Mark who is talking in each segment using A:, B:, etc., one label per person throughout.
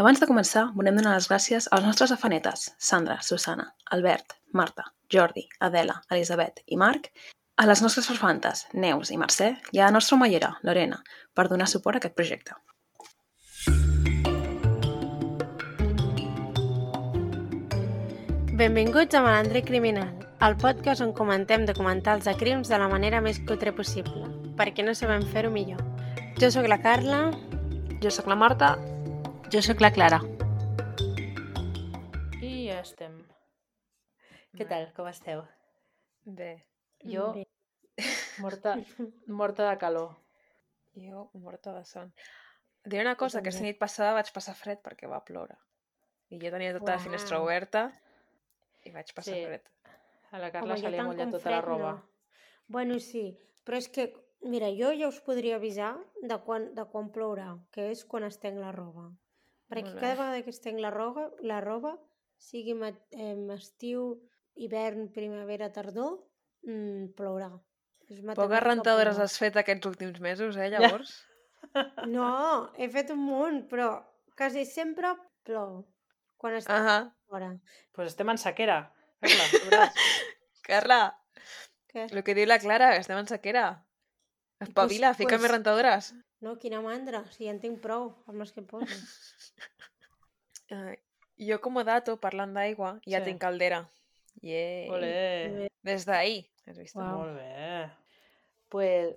A: Abans de començar, volem donar les gràcies als nostres afanetes, Sandra, Susana, Albert, Marta, Jordi, Adela, Elisabet i Marc, a les nostres farfantes, Neus i Mercè, i a la nostra mallera, Lorena, per donar suport a aquest projecte.
B: Benvinguts a Malandre Criminal, el podcast on comentem documentals de crims de la manera més cutre possible, perquè no sabem fer-ho millor. Jo sóc la Carla,
A: Jo sóc la Marta.
C: Jo sóc la Clara.
D: I ja estem. Què
B: Vale.
D: tal? Com esteu?
A: Bé,
D: Jo morta, morta de calor.
A: jo morta de son. Diré una cosa,
D: també.
A: aquesta nit passada vaig passar fred perquè va ploure. I jo tenia tota la finestra
B: Uau.
A: oberta i vaig passar
D: Sí.
A: fred.
D: A la
B: Com
D: Carla
B: jo
D: se li ha
B: tanco
D: mullat
B: amb
D: tota la
B: fred,
D: roba.
B: No. Bueno, sí, però és que, mira, jo ja us podria avisar de quan, de quan plourà, que és quan estenc la roba. Perquè
A: Molt bé.
B: cada vegada que estenc la roba, la roba sigui mat- em, estiu, hivern, primavera, tardor, mm, plourà. És
A: Poques
B: matemàtica
A: rentadores
B: pura.
A: has fet aquests últims mesos, eh, llavors?
B: No, he fet un munt, però quasi sempre plou quan estic
A: Ahà.
B: fora.
D: Doncs pues estem en sequera. Carla, ho veuràs.
A: Carla,
B: Què?
A: El que diu la Clara, que estem en sequera. Espavila, pues,
B: Pues-
A: fica
B: pues-
A: més rentadores.
B: No, quina mandra, si ja en tinc prou amb les que em poso.
A: Ai, jo com a Ah, dato, parlant d'aigua, ja
D: Sí.
A: tinc caldera. Yeah.
D: Olé.
A: Des d'ahir, has vist?
B: Uau.
D: Molt bé. Pues,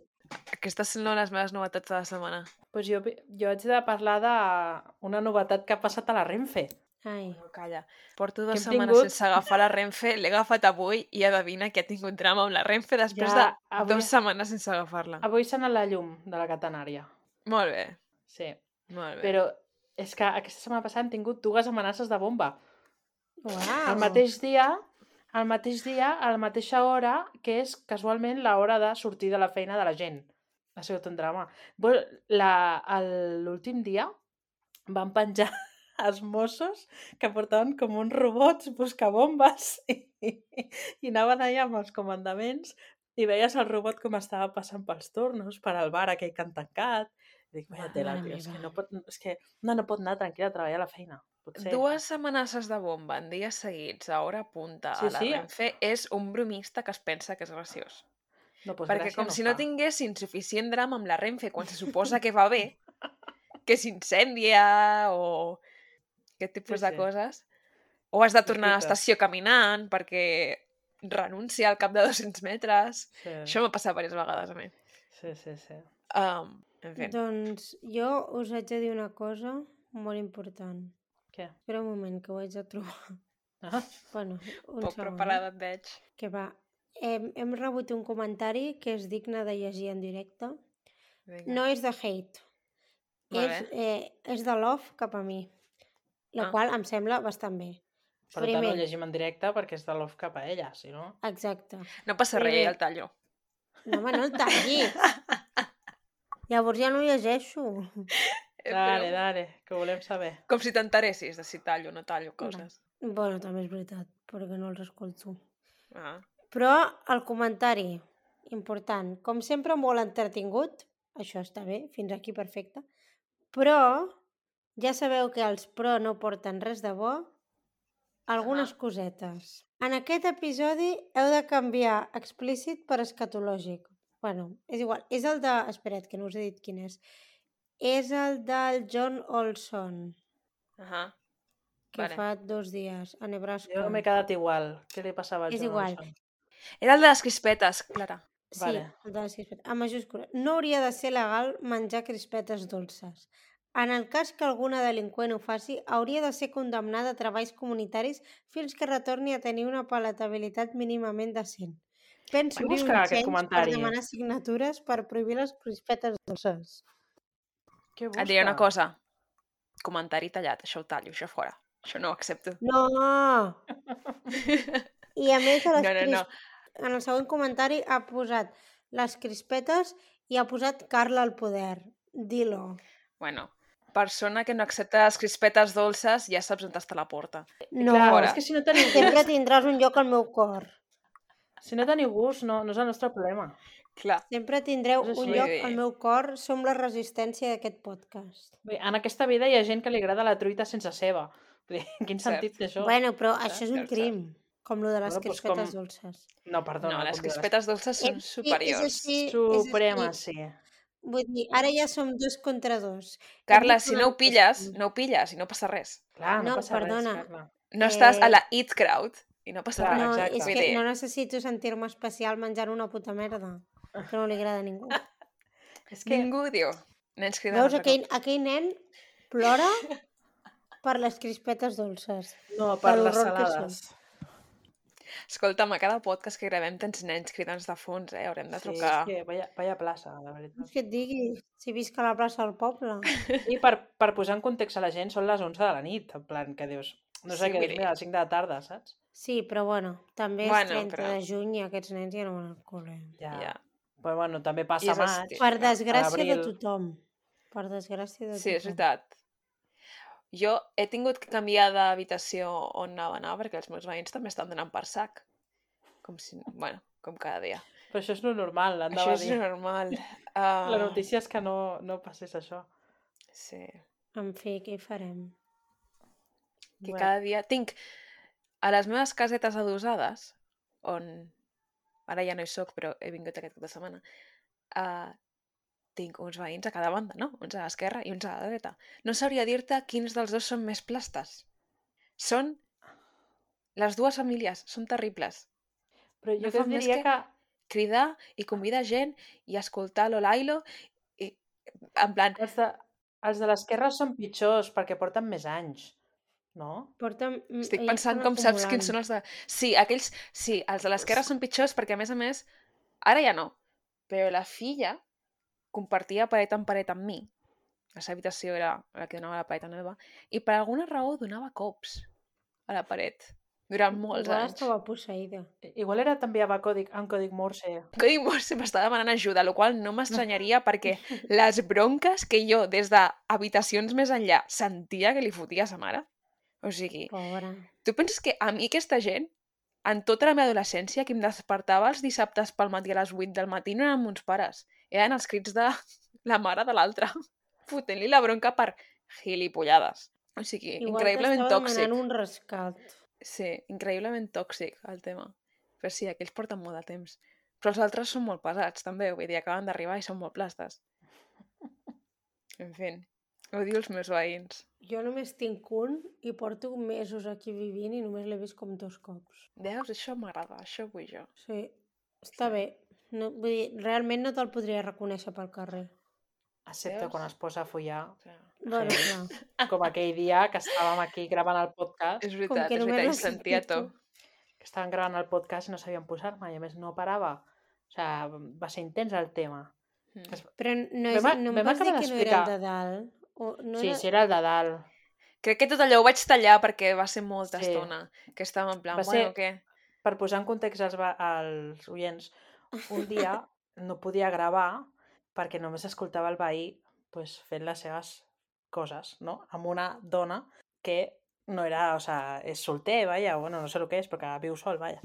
A: Aquestes són les meves novetats de la setmana.
D: pues jo, vi- jo haig de parlar d'una novetat que ha passat a la Renfe.
B: Ai,
A: No, calla. Porto
D: Que
A: dues
D: hem
A: setmanes
D: tingut-
A: sense agafar la Renfe, l'he agafat avui i adevina que ha tingut drama amb la Renfe després ja, de
D: avui,
A: dues setmanes sense agafar-la.
D: avui s'ha anat la llum de la catenària.
A: Molt bé,
D: Sí,
A: molt bé.
D: però és que aquesta setmana passada han tingut dues amenaces de bomba.
B: uau.
D: El mateix dia, el mateix dia, a la mateixa hora, que és casualment l'hora de sortir de la feina de la gent. Ha sigut un drama. Vol- la- el- L'últim dia van penjar els Mossos que portaven com uns robots buscabombes i, i anaven allà amb els comandaments i veies el robot com estava passant pels turnos, per al bar aquell que han tancat. I dic, vaya
B: Mare
D: tela, tio, és
B: meva.
D: que, no pot, és que no, no pot anar tranquil·la a treballar a la feina. Potser.
A: Dues amenaces de bomba en dies seguits, a hora punta,
D: Sí,
A: a la
D: sí.
A: Renfe, és un bromista que es pensa que és graciós.
D: No, doncs
A: Perquè
D: gràcia
A: com
D: no
A: si no
D: fa.
A: tinguessin suficient drama amb la Renfe quan se suposa que va bé, que s'incendia o aquest tipus
D: Sí,
A: de
D: sí.
A: coses, o has de tornar a
D: Típica.
A: l'estació caminant perquè renuncia al cap de 200 metres.
D: Sí.
A: Això m'ha passat diverses vegades a mi.
D: Sí, sí, sí.
A: Um, en fi,
B: Doncs jo us haig de dir una cosa molt important.
D: Què?
B: Espera un moment, que ho haig de trobar.
D: Ah,
B: Bueno, un
A: poc
B: segon. eh?
A: preparada et veig.
B: Que va. Hem, hem rebut un comentari que és digne de llegir en directe.
A: Vinga.
B: No és de hate.
A: Molt bé.
B: És, eh, és de love cap a mi. La
A: Ah.
B: qual em sembla bastant bé.
D: per tant,
B: Primer.
D: ho llegim en directe perquè és de l'off cap a ella, si no...
B: Exacte.
A: No passa res,
B: Primer.
A: ja el tallo.
B: No, home, no el tallis. Llavors ja no llegeixo.
A: Eh,
D: Dale,
A: però
D: dale, que ho volem saber.
A: Com si t'enteressis de si tallo o no tallo coses.
B: Bueno, també és veritat, perquè no els escolto.
A: Ah.
B: Però el comentari, important, com sempre molt entretingut, això està bé, fins aquí perfecte, però ja sabeu que els pro no porten res de bo, algunes cosetes. En aquest episodi heu de canviar explícit per escatològic. Bueno, és igual, és el de... Espera't, que no us he dit quin és. És el del John Olson,
A: Uh -huh.
B: que
A: Vale.
B: vale. fa dos dies, a Nebraska.
D: Jo m'he quedat igual. Què li passava a
B: És
D: John
B: igual.
D: Olson?
A: Era el de les crispetes, Clara.
B: Sí,
D: Vale.
B: el de les crispetes. En majúscula. No hauria de ser legal menjar crispetes dolces. En el cas que alguna delinqüent ho faci, hauria de ser condemnada a treballs comunitaris fins que retorni a tenir una palatabilitat mínimament decent. Penso
D: Vull
B: que
D: buscar aquest
B: per
D: comentari.
B: demanar signatures per prohibir les crispetes dolces.
D: Què
A: Et diré una
D: busca?
A: cosa. Comentari tallat, això ho tallo, això fora. Això no ho accepto.
B: No! I a més, a les
A: No, no, no.
B: cris- en el següent comentari ha posat les crispetes i ha posat Carla al poder. Dilo.
A: Bueno, persona que no accepta les crispetes dolces ja saps on està la porta.
B: No.
D: Clar,
A: Fora.
D: és que si no teniu gust,
B: Sempre tindràs un lloc al meu cor.
D: si no teniu gust no, no és el nostre problema.
A: Clar.
B: Sempre tindreu
D: Això és
B: un
D: molt
B: lloc
A: bé.
B: al meu cor, som la resistència d'aquest podcast.
D: Bé, en aquesta vida hi ha gent que li agrada la truita sense ceba. Vull dir, quin
A: Cert.
D: sentit té això?
B: Bueno, però
A: Saps?
B: això és un
A: Saps?
B: crim, com lo de les
D: Bueno, doncs com-
B: crispetes dolces.
D: No, perdona.
A: no, les
D: com diu,
A: crispetes dolces són
B: Sí,
A: superiors.
B: És així,
D: Suprema,
B: És així.
D: sí.
B: Vull dir, ara ja som dos contra dos.
A: Carla,
B: Hem
A: si no ho
B: tornat-
A: pilles, no ho pilles i no passa res.
D: Clar, no,
B: No,
D: passa
B: perdona.
D: res, Carla.
A: No estàs a
B: Eh,
A: la eat crowd i no passa
D: clar,
A: res.
B: No,
D: Ah, exacte.
B: és
A: Vull
B: que
A: dir,
B: no necessito sentir-me especial menjant una puta merda que no li agrada a ningú.
D: És que...
A: Ningú diu. Nens criden
B: Veus,
A: altre cop.
B: aquell, aquell nen plora per les crispetes dolces.
D: No, per
B: de
D: les
B: l'horror que són.
D: salades.
A: Escolta'm, a cada podcast que gravem tens nens cridants de fons, eh? Haurem de
D: Sí, és
A: trucar.
D: que vaya, vaya plaça, la veritat.
B: Vols que et digui? Si visc a la plaça del poble.
D: I per, per posar en context a la gent, són les 11 de la nit, en plan, que dius... No sé
A: Sí,
D: sí, què
A: vull
D: dius,
A: dir-
D: mira, a les 5 de la tarda, saps?
B: Sí, però bueno, també és
A: Bueno,
B: 30
A: però-
B: de juny i aquests nens ja no van al col·le.
D: Ja.
A: Ja.
D: ja. Però bueno, també passa
A: és
D: maig.
A: estiu.
B: Per desgràcia de
D: abril.
B: tothom. Per desgràcia de tothom.
A: Sí, és veritat. Jo he tingut que canviar d'habitació on anava a anar perquè els meus veïns també estan donant per sac. Com si... Bueno, com cada dia.
D: Però això és lo normal,
A: Això
D: anava
A: és
D: a dir.
A: normal.
D: La
A: Ah,
D: notícia és que no, no passés això.
A: Sí.
B: En fi, què hi farem?
A: Que
D: Bueno.
A: cada dia... Tinc a les meves casetes adosades, on ara ja no hi sóc, però he vingut aquest cap de setmana, uh, tinc uns veïns a cada banda, no? Uns a l'esquerra i uns a la dreta. No sabria dir-te quins dels dos són més plastes. Són... Les dues famílies són terribles.
D: Però
A: No
D: jo que
A: fa
D: et
A: més que-
D: diria que...
A: Cridar i convidar gent i escoltar l'Olailo i... En plan,
D: Els de, els de l'esquerra són pitjors perquè porten més anys, no?
B: Porta'm... mm,
A: Estic
B: ells
A: pensant
B: estan
A: com saps quins són
B: acumulant.
A: els de... Sí, aquells... Sí, els de l'esquerra són pitjors perquè, a més a més, ara ja no. Però la filla compartia paret en paret amb mi. La seva habitació era la que donava a la paret a la meva. I per alguna raó donava cops a la paret. Durant molts
B: Igual
A: anys.
B: estava posseïda.
D: I- Igual era també a còdic, en còdic Morse.
A: Cody Morse m'està demanant ajuda, la qual cosa no m'estranyaria perquè les bronques que jo des d'habitacions més enllà sentia que li fotia a sa mare. O sigui,
B: Pobra.
A: Tu penses que a mi aquesta gent, en tota la meva adolescència, que em despertava els dissabtes pel matí a les 8 del matí, no eren uns pares, eren els crits de la mare de l'altra, fotent-li la bronca per gilipollades. O sigui,
B: Igual
A: increïblement
B: t'estava
A: tòxic.
B: demanant un rescat.
A: Sí, increïblement tòxic el tema. Però sí, aquells porten molt de temps. Però els altres són molt pesats, també. Vull dir, acaben d'arribar i són molt plastes. En fi, odio els meus veïns.
B: Jo només tinc un i porto mesos aquí vivint i només l'he vist com dos cops.
A: Veus? Això m'agrada, això vull jo.
B: Sí, està bé. No, vull dir, realment no te'l podria reconèixer pel carrer.
D: Excepte quan
A: Veus?
D: es posa a follar,
A: O sigui,
B: Bueno,
D: Sí.
B: clar.
D: com aquell dia que estàvem aquí gravant el podcast,
A: És veritat,
B: que
A: és
B: només
A: veritat, i
B: la
A: sentia to.
B: sentim.
D: que estàvem gravant el podcast i no sabíem posar-me, i a més no parava. O sigui, va ser intens el tema.
A: Mm.
B: Però no, és,
D: Vam a-
B: no em
D: vam
B: vas dir
D: acabar
B: que no era el
D: d'explicar.
B: de dalt. O, no
D: No sí,
B: era...
D: sí, era el de dalt.
A: Crec que tot allò ho vaig tallar perquè va ser molta sí.
D: Sí.
A: estona que estàvem en plan,
D: Va
A: va bueno,
D: ser-
A: què?
D: Per posar en context als, va- als oients, un dia no podia gravar perquè només escoltava el veí pues, fent les seves coses, no? Amb una dona que no era, o sea, és solter, vaja, bueno, no sé el que és, però que viu sol, vaja.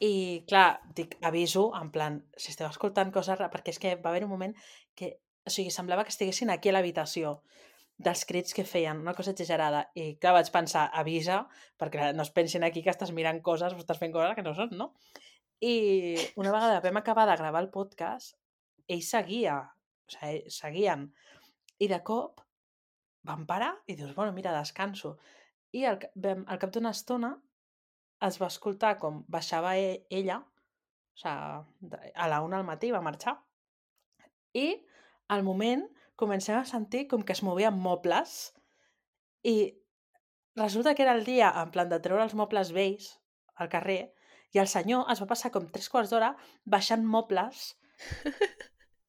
D: I, clar, dic, aviso, en plan, si esteu escoltant coses rares, perquè és que va haver un moment que, o sigui, semblava que estiguessin aquí a l'habitació dels crits que feien, una cosa exagerada. I, clar, vaig pensar, avisa, perquè no es pensin aquí que estàs mirant coses o estàs fent coses que no són, no? I una vegada vam acabar de gravar el podcast, ell seguia, o sigui, ell- seguien. I de cop van parar i dius, bueno, mira, descanso. I al, ca- vam, al cap d'una estona es va escoltar com baixava e- ella, o sigui, de- a la una al matí va marxar, i al moment comencem a sentir com que es movien mobles i resulta que era el dia en plan de treure els mobles vells al carrer i el senyor es va passar com tres quarts d'hora baixant mobles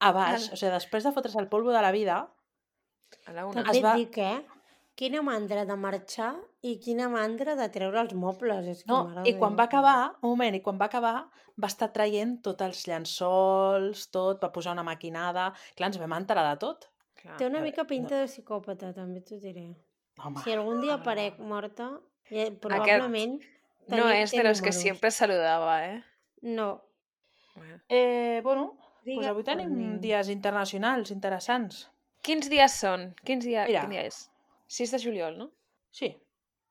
D: a baix.
A: Ara.
D: O sigui, després de fotre's el polvo de la vida,
A: A la una.
D: Es
B: També
D: va-
B: et dic, eh? Quina mandra de marxar i quina mandra de treure els mobles. És que,
D: No,
B: mare
D: i
B: de
D: quan
B: Déu.
D: va acabar, un moment, i quan va acabar, va estar traient tots els llençols, tot, va posar una maquinada... Clar, ens vam enterar de tot.
A: Clar.
B: Té una
D: a
B: mica
D: veure,
B: pinta de psicòpata, també t'ho diré.
D: Home,
B: Si algun dia
D: no.
B: aparec morta, ja, probablement...
A: No
B: tenia-
A: és
B: té
A: de los que
B: números.
A: siempre saludaba, eh?
B: No,
A: Bueno,
D: Eh, bueno, Pues avui tenim dies internacionals interessants.
A: Quins dies són? Quins dia,
D: Mira.
A: quin dia és? 6 de juliol, no?
D: Sí.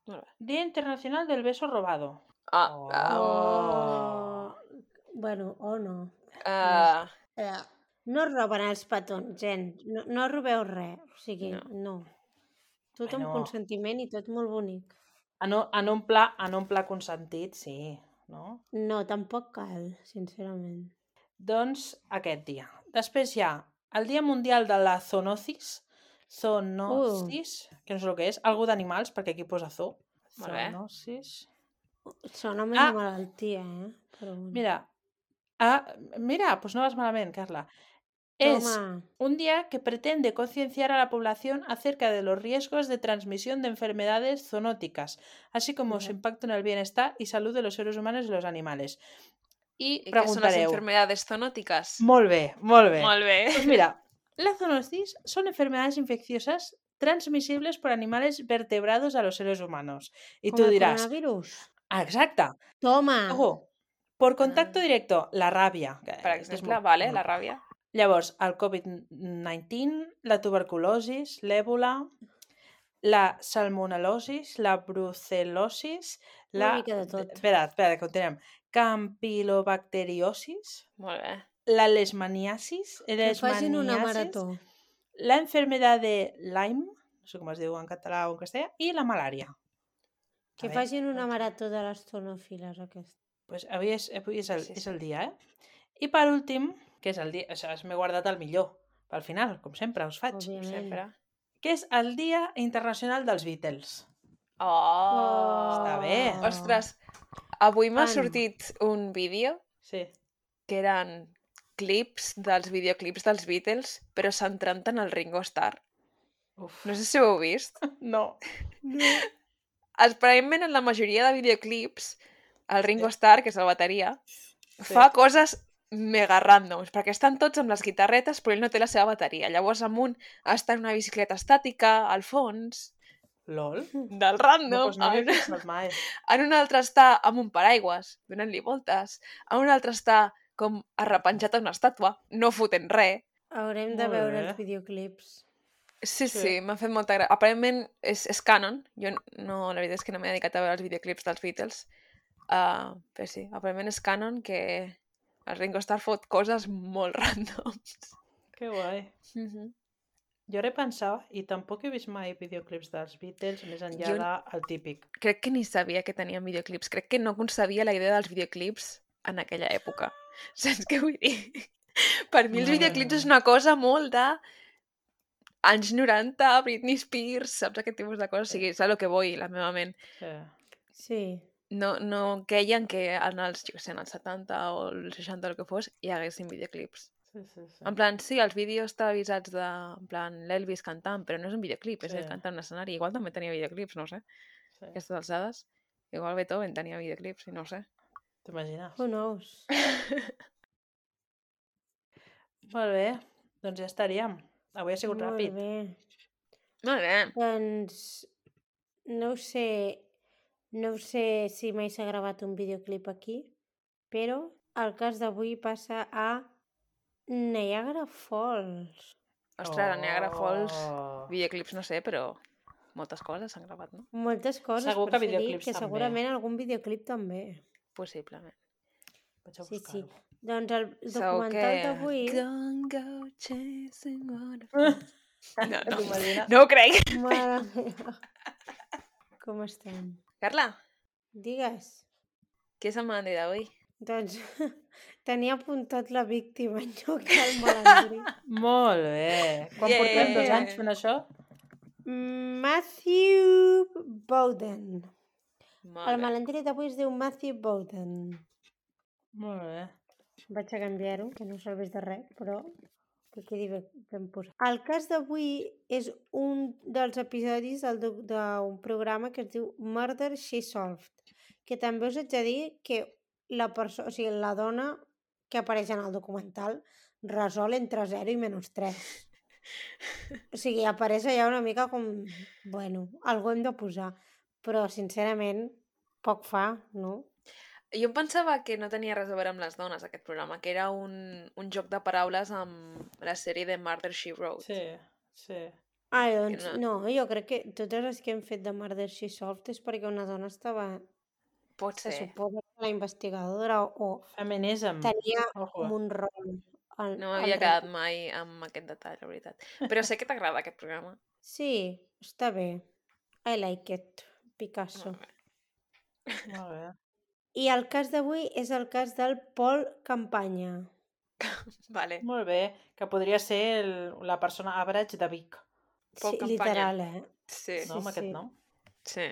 A: Molt bé.
D: Dia Internacional del Beso Robado.
A: Ah,
D: Oh.
A: ah,
B: Oh. Bueno, o oh no.
A: ah,
B: Eh, No roben els petons, gent. No, no robeu res. O sigui,
A: No.
B: no. no. Tot amb
D: Bueno.
B: consentiment i tot molt bonic.
D: En un, en un pla, en un pla consentit, sí, no?
B: No, tampoc cal, sincerament.
D: Doncs aquest dia. Després hi ha el Dia Mundial de la Zoonosis, zoonosis, que no sé el que és, algú d'animals, perquè aquí posa zoo.
A: Uh. Molt bé.
D: Zoonosis.
B: Sona més ah.
D: Ah.
B: malaltia, eh? Però bueno.
D: Mira, ah, mira, doncs no vas malament, Carla. És
B: Toma.
D: Un día que pretende concienciar a la población acerca de los riesgos de transmisión de enfermedades zoonóticas, así como su
B: Ujú.
D: impacto en el bienestar y salud de los seres humanos y los animales. I,
A: I què són les
D: preguntareu...
A: enfermedades zoonòtiques?
D: Molt bé, molt bé.
A: Molt bé.
D: Pues mira, las zoonosis son enfermedades infecciosas transmisibles por animales vertebrados a los seres humanos. Y
B: Com
D: tú
B: el
D: dirás,
B: Coronavirus. Ah.
D: "Ah, exacta,
B: Toma!
D: ojo, por contacto
A: Ah.
D: directo, la rabia. que
A: Per
D: Eh, és
A: exemple,
D: molt-
A: vale,
D: molt
A: la ràbia.
D: Llavors, el Covid-19, la tuberculosis, l'èbola, la salmonel·losis, la brucel·losis, la... Eh,
B: Una mica de tot.
D: Espera, espera, que ho tenim. Campilobacteriosis,
A: Molt bé.
D: la lesmaniasis,
B: Que facin una
D: leishmaniasis,
B: marató.
D: la enfermedad de Lyme, no sé com es diu en català o en castellà, i la malària.
B: Que
D: A veure,
B: facin una
D: doncs.
B: marató de les tonòfiles, aquesta.
D: Pues avui és, avui és, el,
A: Sí,
D: sí, sí. és
A: sí.
D: el dia, eh? I per últim, que és el dia... O sigui, m'he guardat el millor. Pel final, com sempre, us faig.
B: Òbviament.
A: Sempre.
D: que és el Dia Internacional dels Beatles.
A: Oh!
D: Està bé.
B: Oh.
A: Ostres, avui m'ha
B: Fan.
A: sortit un vídeo
D: Sí.
A: que eren clips dels videoclips dels Beatles, però centrant en el Ringo Starr.
D: Uf.
A: No sé si ho heu vist.
D: No.
A: Aparentment, en la majoria de videoclips, el Ringo Starr, que és el bateria, fa coses mega randoms, perquè estan tots amb les guitarretes, però ell no té la seva bateria. Llavors, amunt està en una bicicleta estàtica, al fons,
D: LOL.
A: del
D: No,
A: random,
D: pues no
A: en,
D: m'he fixat mai.
A: en un altre està amb un paraigües, donant-li voltes, en un altre està com arrepenjat a una estàtua, no fotent res.
B: Haurem de
D: Molt
B: veure
D: bé.
B: els videoclips.
A: Sí,
D: Sí.
A: sí, m'ha fet molta gràcia. Aparentment és, és canon. Jo no, la veritat és que no m'he dedicat a veure els videoclips dels Beatles. Uh, però sí, aparentment és canon que el Ringo Starr fot coses molt randoms.
D: Que guai.
A: Mm -hmm.
D: Jo repensava i tampoc he vist mai videoclips dels Beatles més enllà
A: Jo-
D: jo... del típic.
A: Crec que ni sabia que tenien videoclips. Crec que no concebia la idea dels videoclips en aquella època. Saps què vull dir? Per mi els
D: No, no,
A: videoclips
D: no.
A: és una cosa molt de anys 90, Britney Spears, saps aquest tipus de coses? O sigui, és a lo que vull, la meva ment.
D: Sí.
B: Sí.
A: no, no creien que en els, jo què sé, en els 70 o els 60 o el que fos, hi haguessin videoclips.
D: Sí, sí, sí.
A: En plan, sí, els vídeos televisats de, en plan, l'Elvis cantant, però no és un videoclip, és
D: Sí.
A: ell cantant en un escenari. Igual també tenia videoclips, no ho sé,
D: sí.
A: aquestes alçades. Igual Beethoven tenia videoclips, i no ho sé.
D: T'imagines?
B: Who knows?
D: Molt bé. Doncs ja estaríem. Avui ha sigut
B: Molt
D: ràpid.
B: bé.
A: Molt bé.
B: Doncs no ho sé... No ho sé si mai s'ha gravat un videoclip aquí, però el cas d'avui passa a Niagara Falls.
A: Ostres, oh. Niagara Falls,
D: Oh.
A: videoclips no sé, però moltes coses s'han gravat, no?
B: Moltes coses,
D: Segur
B: per
D: que
B: això dic
D: videoclips
B: que
D: també.
B: segurament algun videoclip també.
A: Possiblement.
D: Vaig a
B: Sí, sí.
D: buscar-ho.
B: Doncs el
A: Segur
B: documental d'avui...
A: Don't go chasing waterfalls. No, no.
D: T'imagines?
A: No ho crec.
B: Mare meva. Com estem?
A: Carla,
B: Digues.
A: què és el Mandy d'avui?
B: Doncs tenia apuntat la víctima en lloc del malandrí.
D: Molt bé. Quan
A: Yeah.
D: portem dos anys fent això?
B: Matthew Bowden.
A: Molt
B: El
A: bé.
B: malandrí d'avui es diu Matthew Bowden.
D: Molt bé.
B: Vaig a canviar-ho, que no serveix de res, però que quedi ben, ben posat. El cas d'avui és un dels episodis del doc- d'un programa que es diu Murder She Solved, que també us haig de dir que la, perso- o sigui, la dona que apareix en el documental resol entre 0 i menys 3. O sigui, apareix allà una mica com... Bueno, algú hem de posar. Però, sincerament, poc fa, no?
A: Jo em pensava que no tenia res a veure amb les dones, aquest programa, que era un, un joc de paraules amb la sèrie de Murder, She Wrote.
D: Sí, sí.
B: Ah, doncs
A: Que
B: no, jo crec que totes les que hem fet de Murder She Solved és perquè una dona estava,
A: Pot
B: se
A: ser.
B: suposa, que la investigadora o,
D: Feminism.
B: o tenia
D: Ojo. eh.
B: com un rol. al-
A: Mm. No
B: al
A: m'havia
B: darrere.
A: quedat mai amb aquest detall, la veritat. Però sé que t'agrada aquest programa.
B: Sí, està bé. I like it, Picasso.
A: Molt bé.
D: Molt bé.
B: I el cas d'avui és el cas del Pol Campanya.
A: Vale.
D: Molt bé. Que podria ser el, la persona average de Vic.
A: Pol
B: sí,
A: Campanya.
B: literal, eh?
A: Sí,
D: No, amb aquest
B: sí.
D: nom.
A: sí.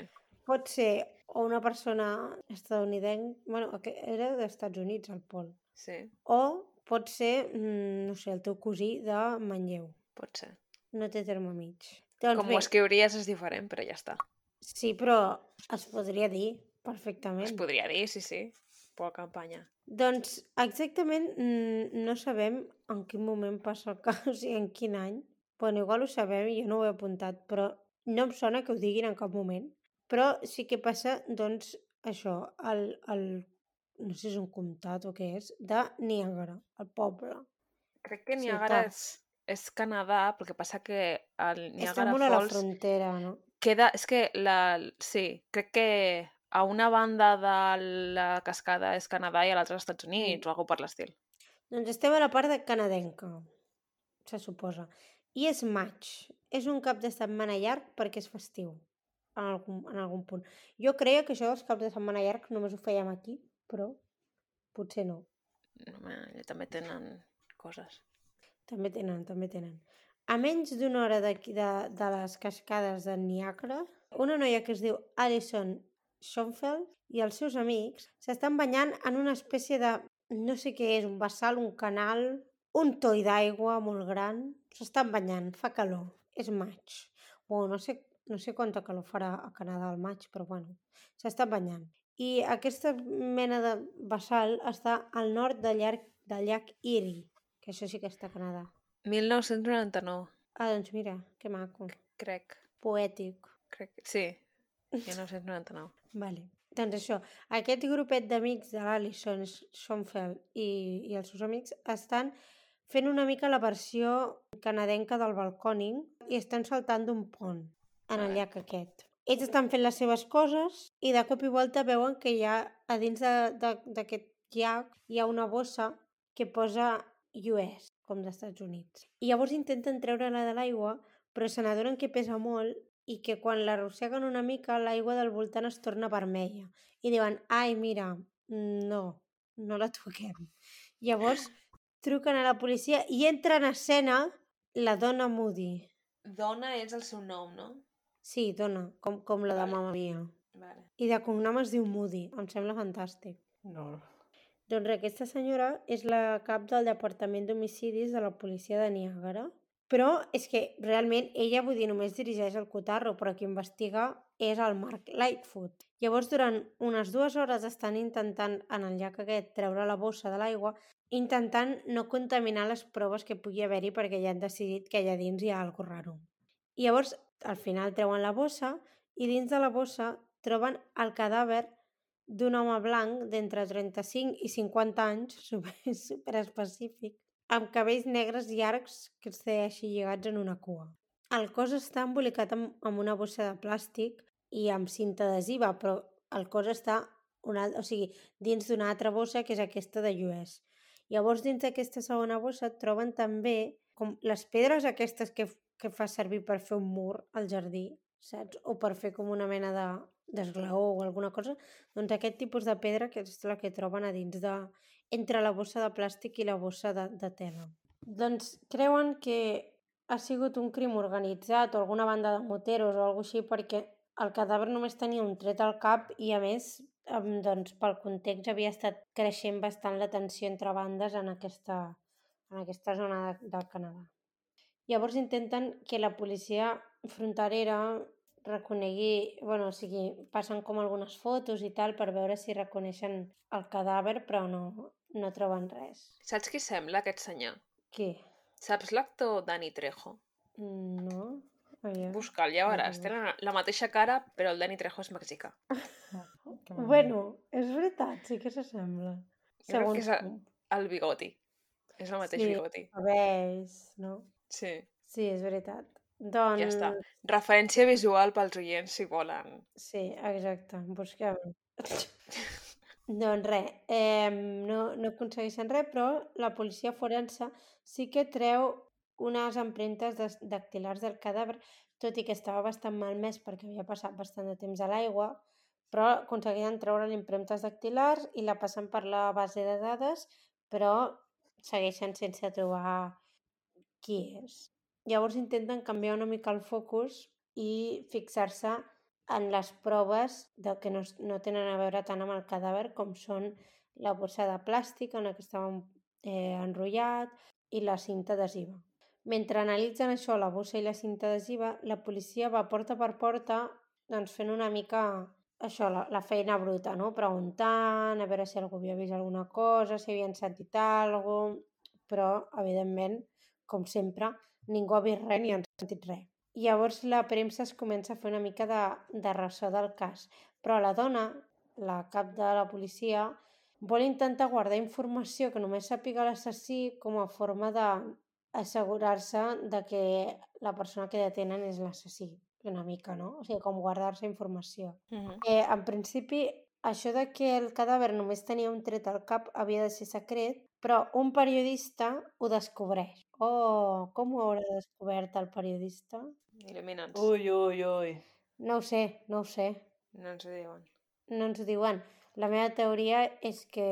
B: Pot ser o una persona estadounidense, bueno, aqu- era d'Estats Units, el Pol,
A: Sí,
B: o pot ser, mm, no sé, el teu cosí de Manlleu.
A: pot ser.
B: No té terme mig. Doncs
A: Com
B: bé,
A: ho escriuries és diferent, però ja està.
B: sí, però es podria dir
A: Es
B: perfectament.
A: podria dir, sí, sí. Pol Campanya.
B: Doncs exactament mm, no sabem en quin moment passa el cas, o sigui, en quin any. Bueno, igual ho sabem, jo no ho he apuntat, però no em sona que ho diguin en cap moment. Però sí que passa, doncs, això, el, el no sé si és un comtat o què és, de Niàgara, el poble.
A: Crec que
B: Sí,
A: Niagara
B: clar.
A: és, és Canadà, perquè passa que el
B: Està
A: Niagara
B: molt a la
A: Falls
B: frontera, no?
A: queda... És que la... Sí, crec que a una banda de la cascada és Canadà i a l'altra als Estats Units, o alguna per l'estil.
B: Doncs estem a la part de canadenca, se suposa. I és maig. És un cap de setmana llarg perquè és festiu, en algun, en algun punt. Jo creia que això dels caps de setmana llarg només ho fèiem aquí, però potser no.
A: Home, allà també tenen coses.
B: També tenen, també tenen. A menys d'una hora d'aquí de, de les cascades de Niagara, una noia que es diu Alison Schoenfeld i els seus amics s'estan banyant en una espècie de, no sé què és, un vessal, un canal, un toll d'aigua molt gran. S'estan banyant, fa calor, és maig. Bueno, no sé, no sé quanta calor farà a Canadà al maig, però bueno, s'estan banyant. I aquesta mena de vessal està al nord del llac, del llac Erie, que això sí que està a Canadà.
A: 1999,
B: Ah, doncs mira, que maco.
A: crec.
B: Poètic.
A: crec que... Sí, 1999.
B: Vale. Doncs això, aquest grupet d'amics de l'Alison Schoenfeld i, i els seus amics estan fent una mica la versió canadenca del balconing i estan saltant d'un pont en el
A: Vale.
B: llac aquest. Ells estan fent les seves coses i de cop i volta veuen que hi ha a dins de- de- d'aquest llac hi ha una bossa que posa US, com d'Estats Units. I llavors intenten treure-la de l'aigua, però se n'adonen que pesa molt i que quan l'arrosseguen una mica l'aigua del voltant es torna vermella. I diuen, ai, mira, no, no la toquem. Llavors truquen a la policia i entra en escena la dona Moody.
A: Dona és el seu nom, no?
B: Sí, dona, com, com la de
A: Vale.
B: Mamma Mia.
A: Vale.
B: I de cognom es diu Moody, em sembla fantàstic.
D: No.
B: Doncs aquesta senyora és la cap del Departament d'Homicidis de la policia de Niàgara. Però és que realment ella, vull dir, només dirigeix el cotarro, però qui investiga és el Mark Lightfoot. Llavors, durant unes dues hores estan intentant, en el llac aquest, treure la bossa de l'aigua, intentant no contaminar les proves que pugui haver-hi perquè ja han decidit que allà dins hi ha alguna raro. I llavors, al final treuen la bossa i dins de la bossa troben el cadàver d'un home blanc d'entre 35 i 50 anys, super, super específic, amb cabells negres llargs que es té així lligats en una cua. El cos està embolicat amb, amb una bossa de plàstic i amb cinta adhesiva, però el cos està una, al- o sigui, dins d'una altra bossa que és aquesta de US. Llavors, dins d'aquesta segona bossa troben també com les pedres aquestes que, f- que fa servir per fer un mur al jardí, saps? O per fer com una mena de d'esglaó o alguna cosa, doncs aquest tipus de pedra que és la que troben a dins de... entre la bossa de plàstic i la bossa de, de tela. Doncs creuen que ha sigut un crim organitzat o alguna banda de moteros o alguna així perquè el cadàver només tenia un tret al cap i a més em, doncs, pel context havia estat creixent bastant la tensió entre bandes en aquesta, en aquesta zona de, del Canadà. Llavors intenten que la policia fronterera reconegui, bueno, o sigui, passen com algunes fotos i tal per veure si reconeixen el cadàver, però no, no troben res.
A: Saps qui sembla aquest senyor?
B: Què?
A: Saps l'actor Dani Trejo?
B: Mm, No? Aviam.
A: Busca'l, ja
B: no,
A: veuràs.
B: no.
A: Tenen la mateixa cara, però el Dani Trejo és mexicà.
D: Oh, Que malament.
B: Bueno, és veritat, sí que s'assembla.
A: crec que
B: Segons
A: s'ha-
B: com.
A: El bigoti. És el mateix
B: Sí.
A: bigoti.
B: Cabells, no?
A: Sí.
B: Sí, és veritat. Doncs...
A: Ja està. Referència visual pels oients, si volen.
B: Sí, exacte, busquem. doncs res, eh, no, no aconsegueixen res, però la policia forense sí que treu unes empremtes des- dactilars del cadàver, tot i que estava bastant malmès perquè havia passat bastant de temps a l'aigua, però aconseguien treure empremtes dactilars i la passen per la base de dades, però segueixen sense trobar qui és. Llavors intenten canviar una mica el focus i fixar-se en les proves de que no, es- no tenen a veure tant amb el cadàver com són la borsa de plàstic en la que estava eh, enrotllat i la cinta adhesiva. Mentre analitzen això, la bossa i la cinta adhesiva, la policia va porta per porta doncs fent una mica això, la, la feina bruta, no? Preguntant, a veure si algú havia vist alguna cosa, si havien sentit alguna però, evidentment, com sempre, ningú ha vist res ni han sentit res. Llavors la premsa es comença a fer una mica de, de ressò del cas, però la dona, la cap de la policia, vol intentar guardar informació que només sàpiga l'assassí com a forma d'assegurar-se de que la persona que detenen és l'assassí, una mica, no? O sigui, com guardar-se informació.
A: Mm-hmm.
B: Eh, en principi, això de que el cadàver només tenia un tret al cap havia de ser secret, però un periodista ho descobreix. Oh, com ho haurà descobert el periodista?
A: Il·lumina'ns.
D: Ui, ui, ui.
B: No ho sé, no ho sé.
A: No ens ho diuen.
B: No ens ho diuen. La meva teoria és que,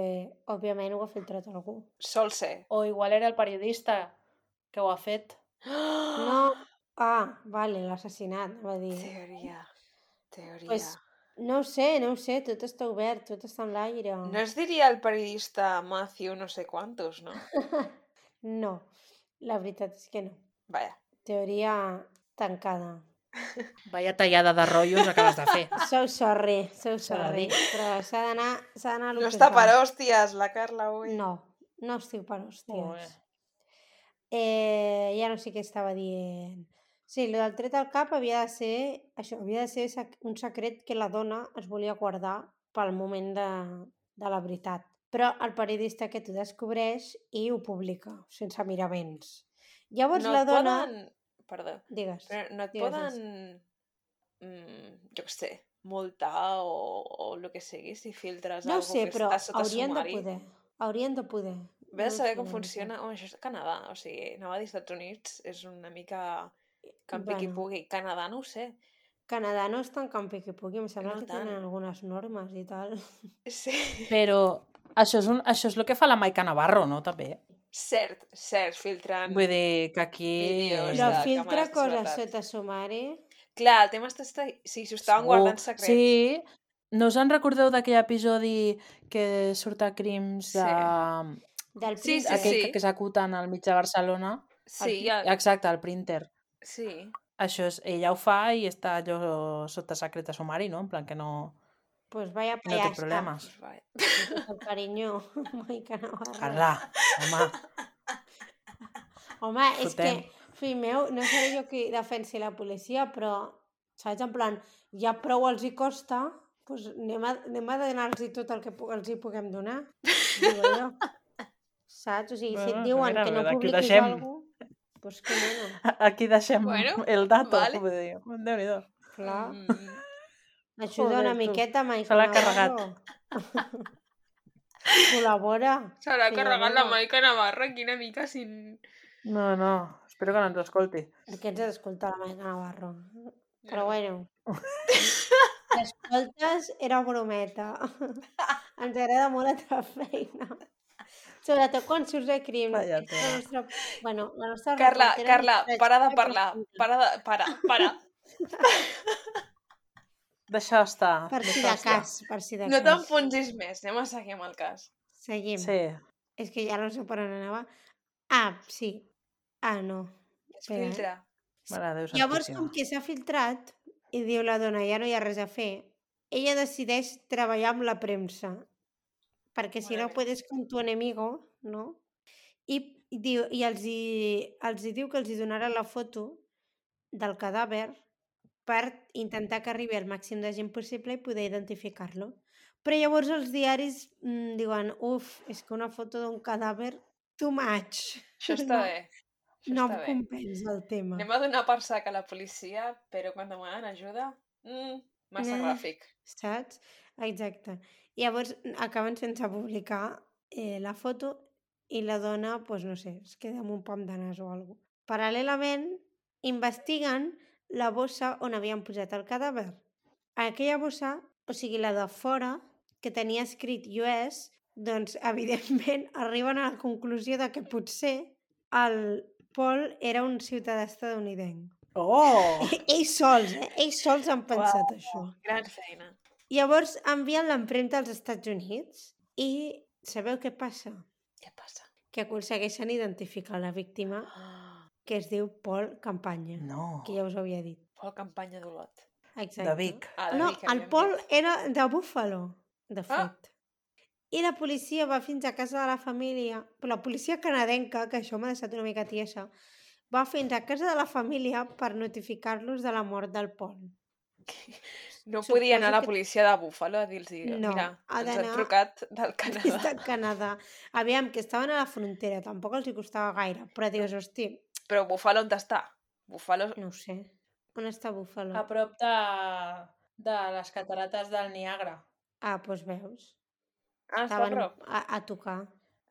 B: òbviament, ho ha filtrat algú.
A: Sol ser.
D: O igual era el periodista que ho ha fet.
B: No! Ah, vale, l'assassinat, va dir.
A: Teoria. Teoria.
B: Pues- No ho sé, no ho sé, tot està obert, tot està en l'aire.
A: No es diria el periodista Matthew no sé quantos, no?
B: no, la veritat és que no.
A: Vaja.
B: Teoria tancada.
D: Vaya tallada de rotllos acabes de fer.
B: Sou sorry, sou
D: S'ha de
B: sorry,
D: dir.
B: però s'ha d'anar s'ha d'anar a lo
A: No
B: que Mm.
A: està
B: es
A: per
B: va.
A: hòsties, la Carla, avui.
B: No, no estic per
D: Molt bé.
B: hòsties. Eh, ja no sé què estava dient. Sí, el del tret al cap havia de ser, això, havia de ser sec- un secret que la dona es volia guardar pel moment de, de la veritat. Però el periodista que t'ho descobreix i ho publica, sense miraments. Llavors
A: no
B: la
A: et
B: dona...
A: Poden... Perdó.
B: Digues.
A: Però no et
B: Digues, digues.
A: poden... Mm, jo què sé, multar o, o el que sigui si filtres
B: No ho
A: algo
B: sé,
A: que
B: però
A: està sota
B: haurien de
A: sumari.
B: poder. Haurien de poder.
A: Ves
B: No
A: a
B: ho
A: saber
B: sé,
A: com
B: la veritat.
A: funciona... Home, això és Canadà, o sigui, Nova dels Estats Units és una mica que en piqui
B: Bueno.
A: pugui. Canadà no ho sé.
B: Canadà no és tan campi que pugui, em sembla
A: No
B: que
A: tant.
B: tenen algunes normes i tal.
A: Sí.
D: Però això és, un, això és el que fa la Maica Navarro, no? També.
A: Cert, cert, filtrant.
D: Vull dir que aquí... Doncs
A: Vídeos
B: Però
A: de
B: filtra
A: càmeres de
B: coses
A: seguretat.
B: sota sumari.
A: Clar, el tema està... està- Si s'ho estaven guardant secret.
D: Sí, no us en recordeu d'aquell episodi que surt a crims
A: Sí.
D: de...
B: Del
A: Sí, sí,
B: príncep.
D: aquell
A: sí. Ah.
D: que executen al mig de Barcelona?
A: Sí,
D: El-
A: ja...
D: Exacte, el printer.
A: sí.
D: Això és, ella ho fa i està allò sota secret a sumari, no? En plan que no,
B: Pues vaya
D: no té
B: payasca.
D: problemes.
A: Pues vale.
B: El carinyo. Maica Navarro.
D: Carla, home,
B: Home, és que,
D: Fotem.
B: fill meu, no seré jo qui defensi la policia, però, saps, en plan, ja prou els hi costa, doncs anem a, anem a donar-los tot el que pu- els hi puguem donar. Digo jo. Saps? O sigui, si et
D: Bueno,
B: diuen
D: mira,
B: que no
D: mira, aquí ho
B: publiquis
D: deixem.
B: alguna cosa, doncs que nena,
D: aquí deixem
A: Bueno,
D: el dato.
A: vale.
D: Vull dir, Déu-n'hi-do.
B: clar.
A: Mm.
B: Ajuda
D: Joder,
B: una
D: tu.
B: miqueta, Maica
D: Se l'ha carregat.
B: Navarro. Col·labora.
A: S'haurà
B: Sí,
A: carregat la
B: home.
A: Maica Navarra aquí una mica sin...
D: No, no, espero que no ens escolti.
B: Que ens ha d'escoltar la Maica Navarro.
A: Ja.
B: Però bueno. Si Escoltes, era brometa. Ens agrada molt la teva feina. Sobretot quan surts de crims.
D: Vaya
B: Ets la
D: tela.
B: nostra... Bueno, la nostra
A: Carla,
B: reportera
A: Carla,
B: més
A: para de
B: tragèdia
A: parlar.
B: profunda.
A: Para de... Para, para.
D: Deixa estar.
B: Per si
D: deixa
B: de
D: estar.
B: cas, per si de
A: No
B: cas.
A: t'enfonsis més. Anem a seguir amb el cas.
B: Seguim.
D: Sí,
B: És que ja no sé per on anava. Ah, sí. Ah, no.
A: Es
B: Espera, eh?
A: filtra.
D: mare de Déu
B: Llavors,
D: santíssima.
B: com que s'ha filtrat i diu la dona, ja no hi ha res a fer, ella decideix treballar amb la premsa. Perquè si no
A: Maravilla.
B: puedes con tu enemigo, no? I, i diu, i els, hi, els hi diu que els hi donarà la foto del cadàver per intentar que arribi al màxim de gent possible i poder identificar-lo. Però llavors els diaris mm, diuen uf, és que una foto d'un cadàver too much.
A: Això està
B: No.
A: bé. Això
B: no
A: està
B: em
A: bé.
B: compensa el tema.
A: Anem a donar per sac a la policia, però quan demanen ajuda... Mm, massa
B: Eh.
A: gràfic.
B: Saps? Exacte. I llavors acaben sense publicar eh, la foto i la dona, doncs pues, no sé, es queda amb un pom de nas o alguna cosa. Paral·lelament, investiguen la bossa on havien posat el cadàver. Aquella bossa, o sigui, la de fora, que tenia escrit US, doncs, evidentment, arriben a la conclusió de que potser el Paul era un ciutadà estadounidenc.
D: Oh!
B: Ells sols, eh? Ells sols han pensat això.
A: Gran feina.
B: Llavors envien l'empremta als Estats Units i sabeu què passa?
A: Què passa?
B: Que aconsegueixen identificar la víctima
A: Oh,
B: que es diu Paul Campanya,
D: No.
B: que ja us havia dit.
A: Pol Campanya d'Olot.
B: Exacte.
D: De Vic.
A: Ah, de
B: No,
A: Vic,
B: el
A: evidentment.
B: Paul era de Buffalo,
A: Ah.
B: de fet. I la policia va fins a casa de la família, però la policia canadenca, que això m'ha deixat una mica tiesa, va fins a casa de la família per notificar-los de la mort del Paul.
A: No podia anar a
B: suposo
A: la
B: que-
A: policia de Búfalo a dir-los,
B: No,
A: mira,
B: ha
A: ens han
B: d'anar
A: trucat del
B: des
A: Canadà.
B: de Canadà. Aviam, que estaven a la frontera, tampoc els hi costava gaire, però dius, hosti,
A: Però Búfalo on està? Búfalo... ah,
B: no ho sé, on està Buffalo?
D: A prop de, de les catarates del Niagara.
B: Ah, doncs veus,
A: Ah, està a
B: estaven
A: prop.
B: a, a tocar.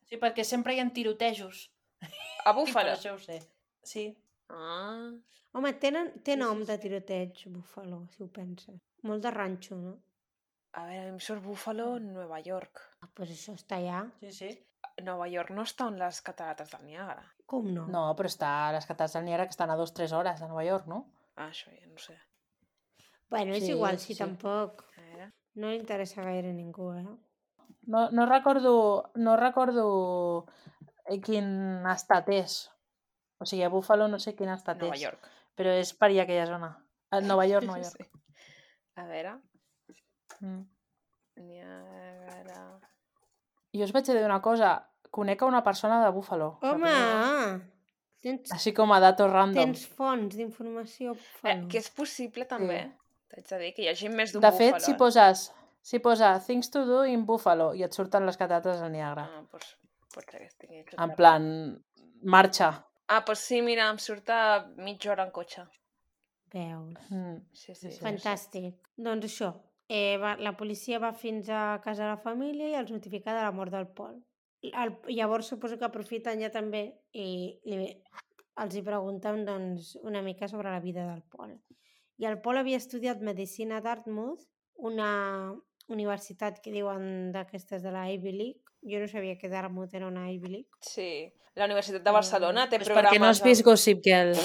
D: Sí, perquè sempre hi ha tirotejos.
A: A
D: I per
A: Búfalo.
D: això ho sé. Sí.
A: Ah,
B: Home, tenen, té
D: Sí, sí,
B: nom de
D: sí.
B: tiroteig, Buffalo, si ho penses. Molt de ranxo, no?
A: a veure, em surt Búfalo, Nova York.
B: Ah, doncs això està allà.
D: Sí, sí.
A: Nova York no està on les catarates del Niàgara.
B: Com no?
D: No, però està a les catarates del Niagara que estan a dues o tres hores de Nova York, no?
A: Ah, això ja no ho sé.
B: Bueno, és
D: Sí,
B: igual, si
D: sí.
B: tampoc.
A: A veure.
B: No li interessa gaire a ningú, eh?
D: No, no recordo, no recordo eh, quin estat és. O sigui, a Buffalo no sé quin estat
A: Nova
D: és,
A: York.
D: però és per allà aquella zona. A Nova York, Nova York.
A: Sí. A veure,
D: Mm.
A: Niàgara...
D: Jo us vaig a dir una cosa, conec a una persona de Buffalo. la
B: Home!
D: primera vegada.
B: Tens,
D: Així com a datos random.
B: tens fonts d'informació,
A: Eh,
B: Buffalo.
A: que és possible, també. T'haig de dir que hi hagi més d'un
D: De fet,
A: Búfalo.
D: si
A: eh?
D: poses, si posa things to do in Buffalo i et surten les catarates del Niagara.
A: Ah, doncs, potser que estigui
D: En
A: equivocada.
D: plan, marxa.
A: Ah, doncs sí, mira, em surt a mitja hora en cotxe.
B: Veus.
D: Mm.
A: Sí, sí.
D: sí.
A: sí.
B: Fantàstic. Doncs això, eh, va, la policia va fins a casa de la família i els notifica de la mort del Pol. El, llavors suposo que aprofiten ja també i li, els hi pregunten doncs, una mica sobre la vida del Pol. I el Pol havia estudiat Medicina a Dartmouth, una universitat que diuen d'aquestes de la Ivy League. Jo no sabia que Dartmouth era una Ivy League.
A: Sí. La Universitat de Barcelona té
D: És
A: programes...
D: perquè no has
A: de-
D: vist Gossip Girl.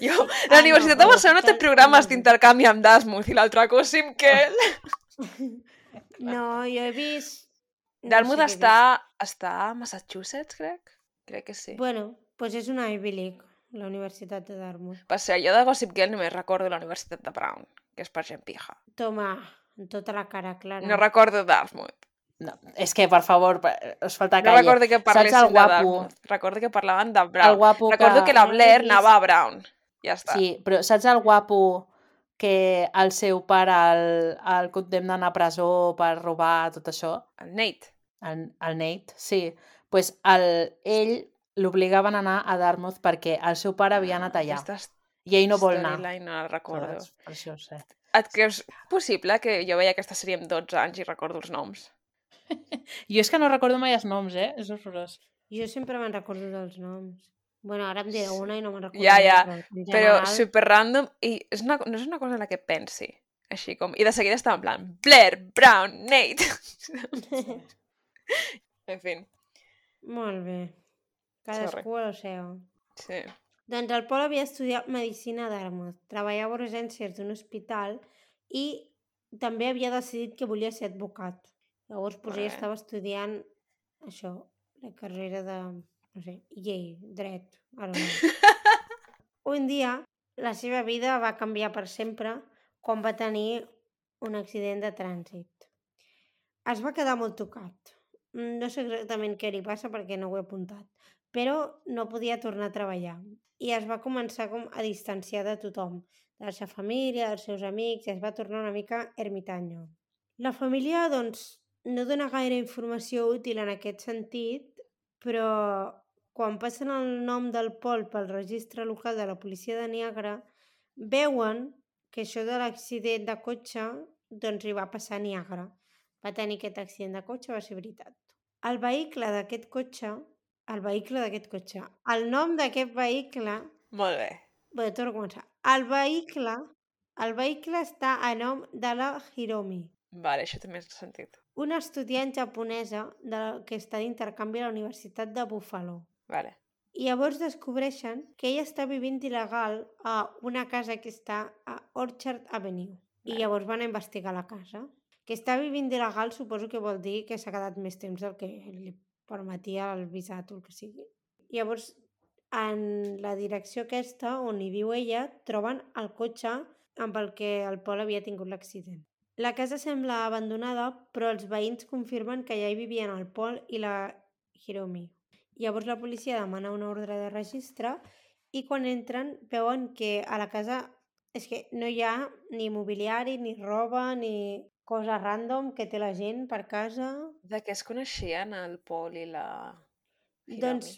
A: Jo,
B: Ah,
A: la
B: no,
A: Universitat
B: el
A: de Barcelona té
B: Gossip Girl
A: programes
B: no.
A: d'intercanvi amb Dasmuth i l'altre Gossip Girl.
D: Ah.
B: No, jo he vist... no
A: Dartmouth
B: sé què he
A: està, està a Massachusetts, crec? Crec que sí.
B: vist. Bueno, doncs és una Ivy League, la Universitat de Dartmouth.
A: Per ser jo de Gossip Girl només recordo la Universitat de Brown, que és per gent pija.
B: Toma, amb tota la cara clara.
A: No recordo Dartmouth.
D: No, és que, per favor, pa- us falta
A: No
D: calle.
A: recordo que
D: el
A: parlessin de
D: guapo?
A: Dartmouth. Recordo que parlaven de
D: El
A: Brown.
D: guapo
A: Recordo que la
B: no l'he
A: Blair
B: vist.
A: anava a Brown. Ja està.
D: Sí, però saps el guapo que el seu pare el, el condemnen a presó per robar tot això?
A: El Nate.
D: El, el Nate, sí. pues el, ell l'obligaven a anar a Dartmouth perquè el seu pare havia anat allà
A: Aquesta
D: i ell no vol anar.
A: storyline no la recordo.
D: Saps? eh? Per això ho sé.
A: Et creus possible que jo veia aquesta sèrie amb 12 anys i recordo els noms?
D: Jo és que no recordo mai els noms, eh? És horrorós.
B: Jo sempre me'n recordo dels noms. Bueno, ara em diré
A: Sí.
B: una i no me'n recordo.
A: Ja, ja,
B: en
A: Però
B: general,
A: super random i és una, no és una cosa en la que pensi. Així com... I de seguida estava en plan Blair, Brown, Nate... en fi,
B: Molt bé. Cadascú el seu.
A: sí.
B: Doncs el Pol havia estudiat Medicina a Dartmouth, treballava a urgències d'un hospital i també havia decidit que volia ser advocat. Llavors, doncs,
A: Molt
B: ell
A: bé.
B: estava estudiant això, la carrera de, no sé, llei, dret, ara no. Un dia, la seva vida va canviar per sempre quan va tenir un accident de trànsit. Es va quedar molt tocat. Mm, No sé exactament què li passa perquè no ho he apuntat, però no podia tornar a treballar. I es va començar com a distanciar de tothom, de la seva família, dels seus amics, i es va tornar una mica ermitanyo. La família, doncs, no dona gaire informació útil en aquest sentit, però quan passen el nom del Pol pel registre local de la policia de Niagara, veuen que això de l'accident de cotxe doncs hi va passar a Niagara. Va tenir aquest accident de cotxe, va ser veritat. El vehicle d'aquest cotxe, el vehicle d'aquest cotxe, el nom d'aquest vehicle,
A: Molt bé.
B: bé, torno a començar, el vehicle, el vehicle està a nom de la Hiromi,
A: Vale, això també és sentit.
B: una estudiant japonesa de la, que està d'intercanvi a la Universitat de Buffalo.
A: Vale.
B: I llavors descobreixen que ella està vivint il·legal a una casa que està a Orchard Avenue. I
A: Vale.
B: llavors van a investigar la casa. Que està vivint il·legal suposo que vol dir que s'ha quedat més temps del que li permetia el visat o el que sigui. Llavors, en la direcció aquesta, on hi viu ella, troben el cotxe amb el que el Pol havia tingut l'accident. La casa sembla abandonada, però els veïns confirmen que ja hi vivien el Pol i la Hiromi. Llavors la policia demana una ordre de registre i quan entren veuen que a la casa és que no hi ha ni mobiliari, ni roba, ni cosa random que té la gent per casa.
A: De què es coneixien el Pol i la... Hiromi?
B: Doncs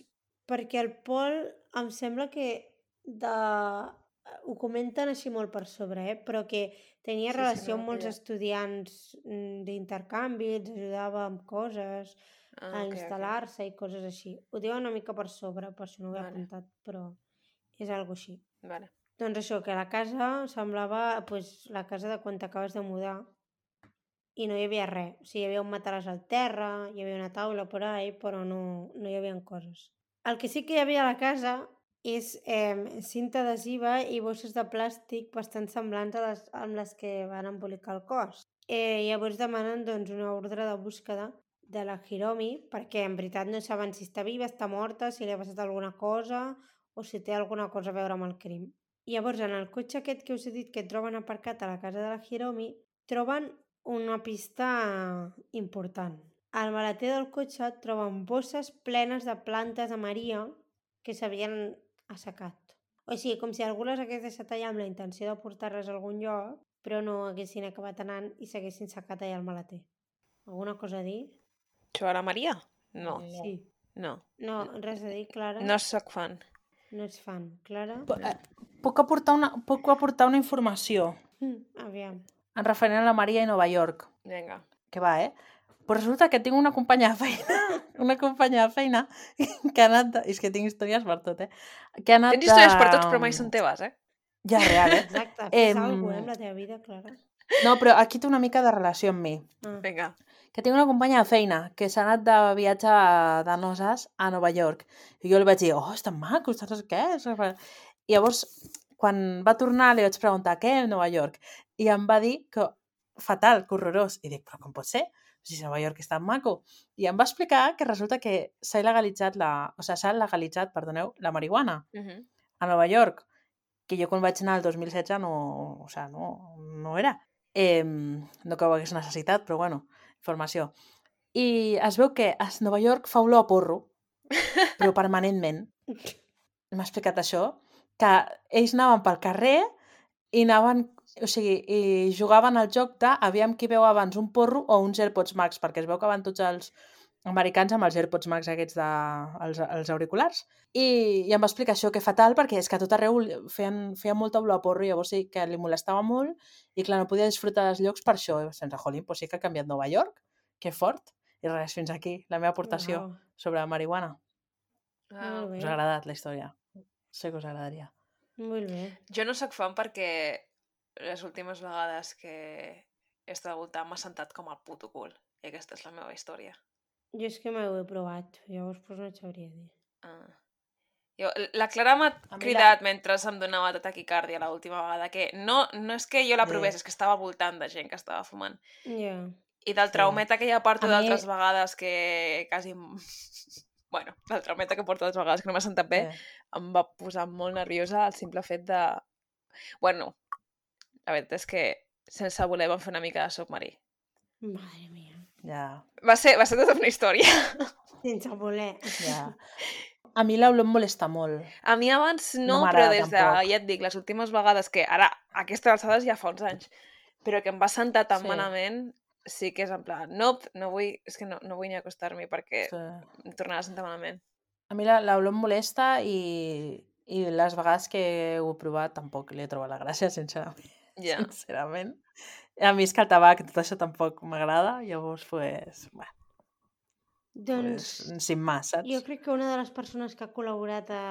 B: perquè el Pol em sembla que de... ho comenten així molt per sobre, eh? però que tenia
A: Sí, sí,
B: relació
A: no,
B: amb molts
A: ja.
B: estudiants mm, d'intercanvi, els ajudava amb coses,
A: Ah,
B: a
A: ok, ok.
B: instal·lar-se i coses així. Ho diu una mica per sobre, per si no ho he
A: Vale.
B: apuntat, però és algo així.
A: Vale.
B: Doncs això, que la casa semblava pues, la casa de quan t'acabes de mudar i no hi havia res. O sigui, hi havia un matalàs al terra, hi havia una taula per ahí, però no, no hi havia coses. El que sí que hi havia a la casa és eh, cinta adhesiva i bosses de plàstic bastant semblants a les, amb les que van embolicar el cos. Eh, llavors demanen doncs, una ordre de búsqueda de la Hiromi perquè en veritat no saben si està viva, està morta, si li ha passat alguna cosa o si té alguna cosa a veure amb el crim. Llavors, en el cotxe aquest que us he dit que troben aparcat a la casa de la Hiromi, troben una pista important. Al maleter del cotxe troben bosses plenes de plantes de Maria que s'havien assecat. O sigui, com si algú les hagués deixat allà amb la intenció de portar-les a algun lloc, però no haguessin acabat anant i s'haguessin secat allà al maleter. Alguna cosa a dir?
A: Jo a la Maria? No,
B: Sí.
A: no.
B: No, res a dir, Clara.
A: No sóc fan.
B: no ets fan. Clara?
D: P- eh, Puc aportar una, puc aportar una informació
B: Mm, Aviam.
D: en referent a la Maria i Nova York.
A: Vinga.
B: Ah,
D: que va, eh? Però resulta que tinc una companya de feina, una companya de feina que ha anat... De... És que tinc històries per tot, eh? Que ha anat
A: Tens històries per tots,
D: de-
A: però mai
B: doncs.
A: són teves, eh?
D: Ja, real, eh?
B: Exacte, fes
D: Em-
B: em... alguna cosa amb la teva vida, Clara.
D: No, però aquí té una mica de relació amb mi.
B: Ah.
A: Vinga.
D: Que tinc una companya de feina que s'ha anat de viatge de noces a Nova York. I jo li vaig dir, oh, és tan maco, està no sé què. és que fa-". I llavors, quan va tornar, li vaig preguntar, què, Nova York? I em va dir que fatal, que horrorós. I dic, però com pot ser? Si Nova York és tan maco. I em va explicar que resulta que s'ha il·legalitzat la... O sigui, s'ha legalitzat, perdoneu, la marihuana
A: Mhm.
D: a Nova York, que jo quan vaig anar el 2016 no, o sea, no, no era. Eh, no que ho hagués necessitat, però bueno, informació. I es veu que a Nova York fa olor a porro, però permanentment. M'ha explicat això, que ells anaven pel carrer i anaven o sigui, i jugaven al joc de aviam qui veu abans un porro o uns AirPods Max, perquè es veu que van tots els americans amb els AirPods Max aquests de, els, els auriculars. I, I em va explicar això, que fatal, perquè és que a tot arreu li- feien, feien molta olor a porro, i llavors sí que li molestava molt, i clar, no podia disfrutar dels llocs per això. I sense jolín, doncs sí que ha canviat Nova York, que fort. I res, fins aquí, la meva aportació
B: Uau,
D: sobre la marihuana.
A: Uau.
B: Molt
D: Us
B: bé.
D: ha agradat la història? Sé que us agradaria.
B: Molt bé.
A: Jo no sóc fan perquè les últimes vegades que he estat al voltant m'ha sentat com el puto cul. I aquesta és la meva història.
B: Jo és que mai ho he provat, llavors pues, no et sabria dir.
A: Ah. Jo, la Clara m'ha
D: la-
A: cridat mentre em donava de taquicàrdia l'última vegada, que no, no és que jo la
D: Bé.
A: provés, és que estava al voltant de gent que estava fumant.
B: Ja. Yeah.
A: I del
D: Sí.
A: traumeta que ja porto
D: A mi-
A: d'altres vegades que quasi... em- Bueno, del traumeta que porto d'altres vegades que no m'ha sentat bé,
D: Sí.
A: em va posar molt nerviosa el simple fet de... Bueno, la veritat és que sense voler vam fer una mica de submarí.
B: Madre mia.
D: Ja,
A: Va ser, va ser tota una història.
B: Sense voler.
D: ja. A mi l'olor em molesta molt.
B: Eh.
A: A mi abans no, però
D: m'agrada
A: des de,
D: tampoc.
A: ja et dic, les últimes vegades que ara, a aquestes alçades ja fa uns anys, però que em va sentar tan
D: Sí.
A: sí. malament, sí que és en plan, nope, no vull, és que no, no vull ni acostar-m'hi perquè
D: Sí.
A: em tornarà a sentar malament.
D: A mi la- l'olor em molesta i, i les vegades que ho he provat tampoc li he trobat la gràcia, sincerament.
A: Ja.
D: sincerament. A mi és que el tabac i tot això tampoc m'agrada, llavors, pues, bueno,
B: Doncs
D: pues, sin más, saps?
B: jo crec que una de les persones que ha col·laborat a,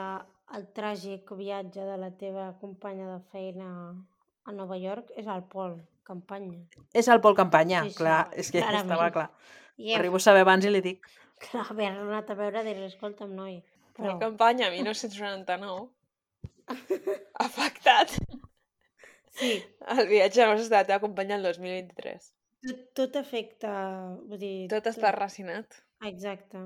B: al tràgic viatge de la teva companya de feina a Nova York és el Pol Campanya.
D: És el Pol Campanya,
B: Sí, sí,
D: clar, és que
B: clarament.
D: estava clar.
B: I
D: Yeah.
B: hem,
D: Arribo a saber abans i li dic,
B: clar, haver anat a veure dir-li, escolta'm, noi,
A: Però
B: prou.
A: campanya, 1999, afectat
B: Sí,
A: el viatge de nostres de la teva companya el 2023.
B: tot, tot afecta, vull dir...
A: Tot està relacionat.
B: Exacte.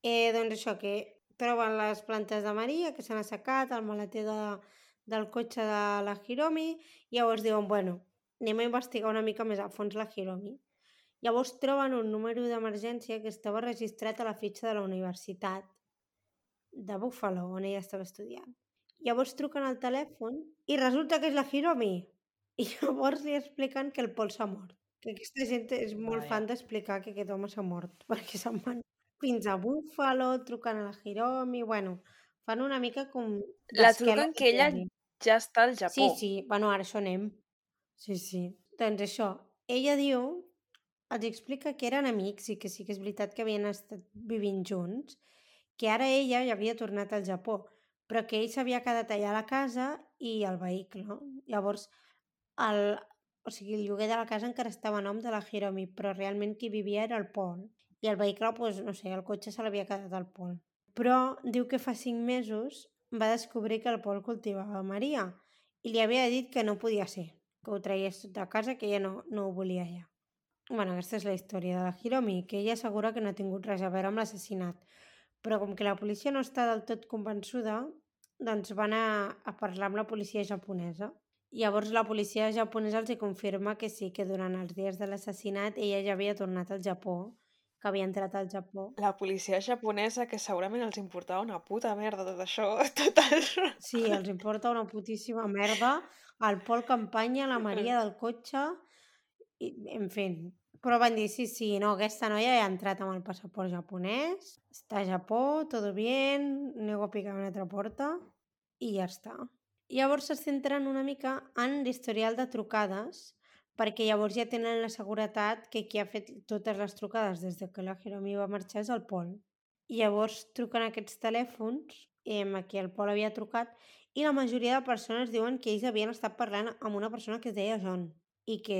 B: Eh, doncs això, que troben les plantes de Maria, que s'han assecat, el maleter de, del cotxe de la Hiromi, i llavors diuen, bueno, anem a investigar una mica més a fons la Hiromi. Llavors troben un número d'emergència que estava registrat a la fitxa de la universitat de Buffalo, on ella estava estudiant. Llavors truquen al telèfon i resulta que és la Hiromi. I llavors li expliquen que el Pol s'ha mort. Que aquesta gent és molt
D: Vaja.
B: fan d'explicar que aquest home s'ha mort, perquè se'n van fins a Buffalo, truquen a la Hiromi, bueno, fan una mica com...
A: La truquen
B: d'esquena al
A: que ella
B: diari.
A: Ja està al Japó.
B: Sí, sí, bueno, ara això anem. Sí, sí. Doncs això, ella diu, els explica que eren amics i que sí que és veritat que havien estat vivint junts, que ara ella ja havia tornat al Japó, però que ell s'havia quedat allà a la casa i al vehicle. Llavors, el, o sigui, el lloguer de la casa encara estava a nom de la Hiromi, però realment qui vivia era el Pol. I el vehicle, doncs, no sé, el cotxe se l'havia quedat al Pol. Però diu que fa cinc mesos va descobrir que el Pol cultivava Maria i li havia dit que no podia ser, que ho traies tot de casa, que ella no, no ho volia ja. bueno, aquesta és la història de la Hiromi, que ella assegura que no ha tingut res a veure amb l'assassinat. Però com que la policia no està del tot convençuda, doncs van a, a parlar amb la policia japonesa. Llavors la policia japonesa els hi confirma que sí, que durant els dies de l'assassinat ella ja havia tornat al Japó, que havia entrat al Japó.
A: La policia japonesa, que segurament els importava una puta merda tot això, tot això.
B: Sí, els importa una putíssima merda el Pol Campanya, la Maria del cotxe, i, en fi. Però van dir, sí, sí, no, aquesta noia ja ha entrat amb el passaport japonès, està a Japó, todo bien, anem a picar una altra porta i ja està. Llavors es centren una mica en l'historial de trucades, perquè llavors ja tenen la seguretat que qui ha fet totes les trucades des de que la Hiromi va marxar és el Pol. I llavors truquen a aquests telèfons em, a qui el Pol havia trucat i la majoria de persones diuen que ells havien estat parlant amb una persona que es deia John i que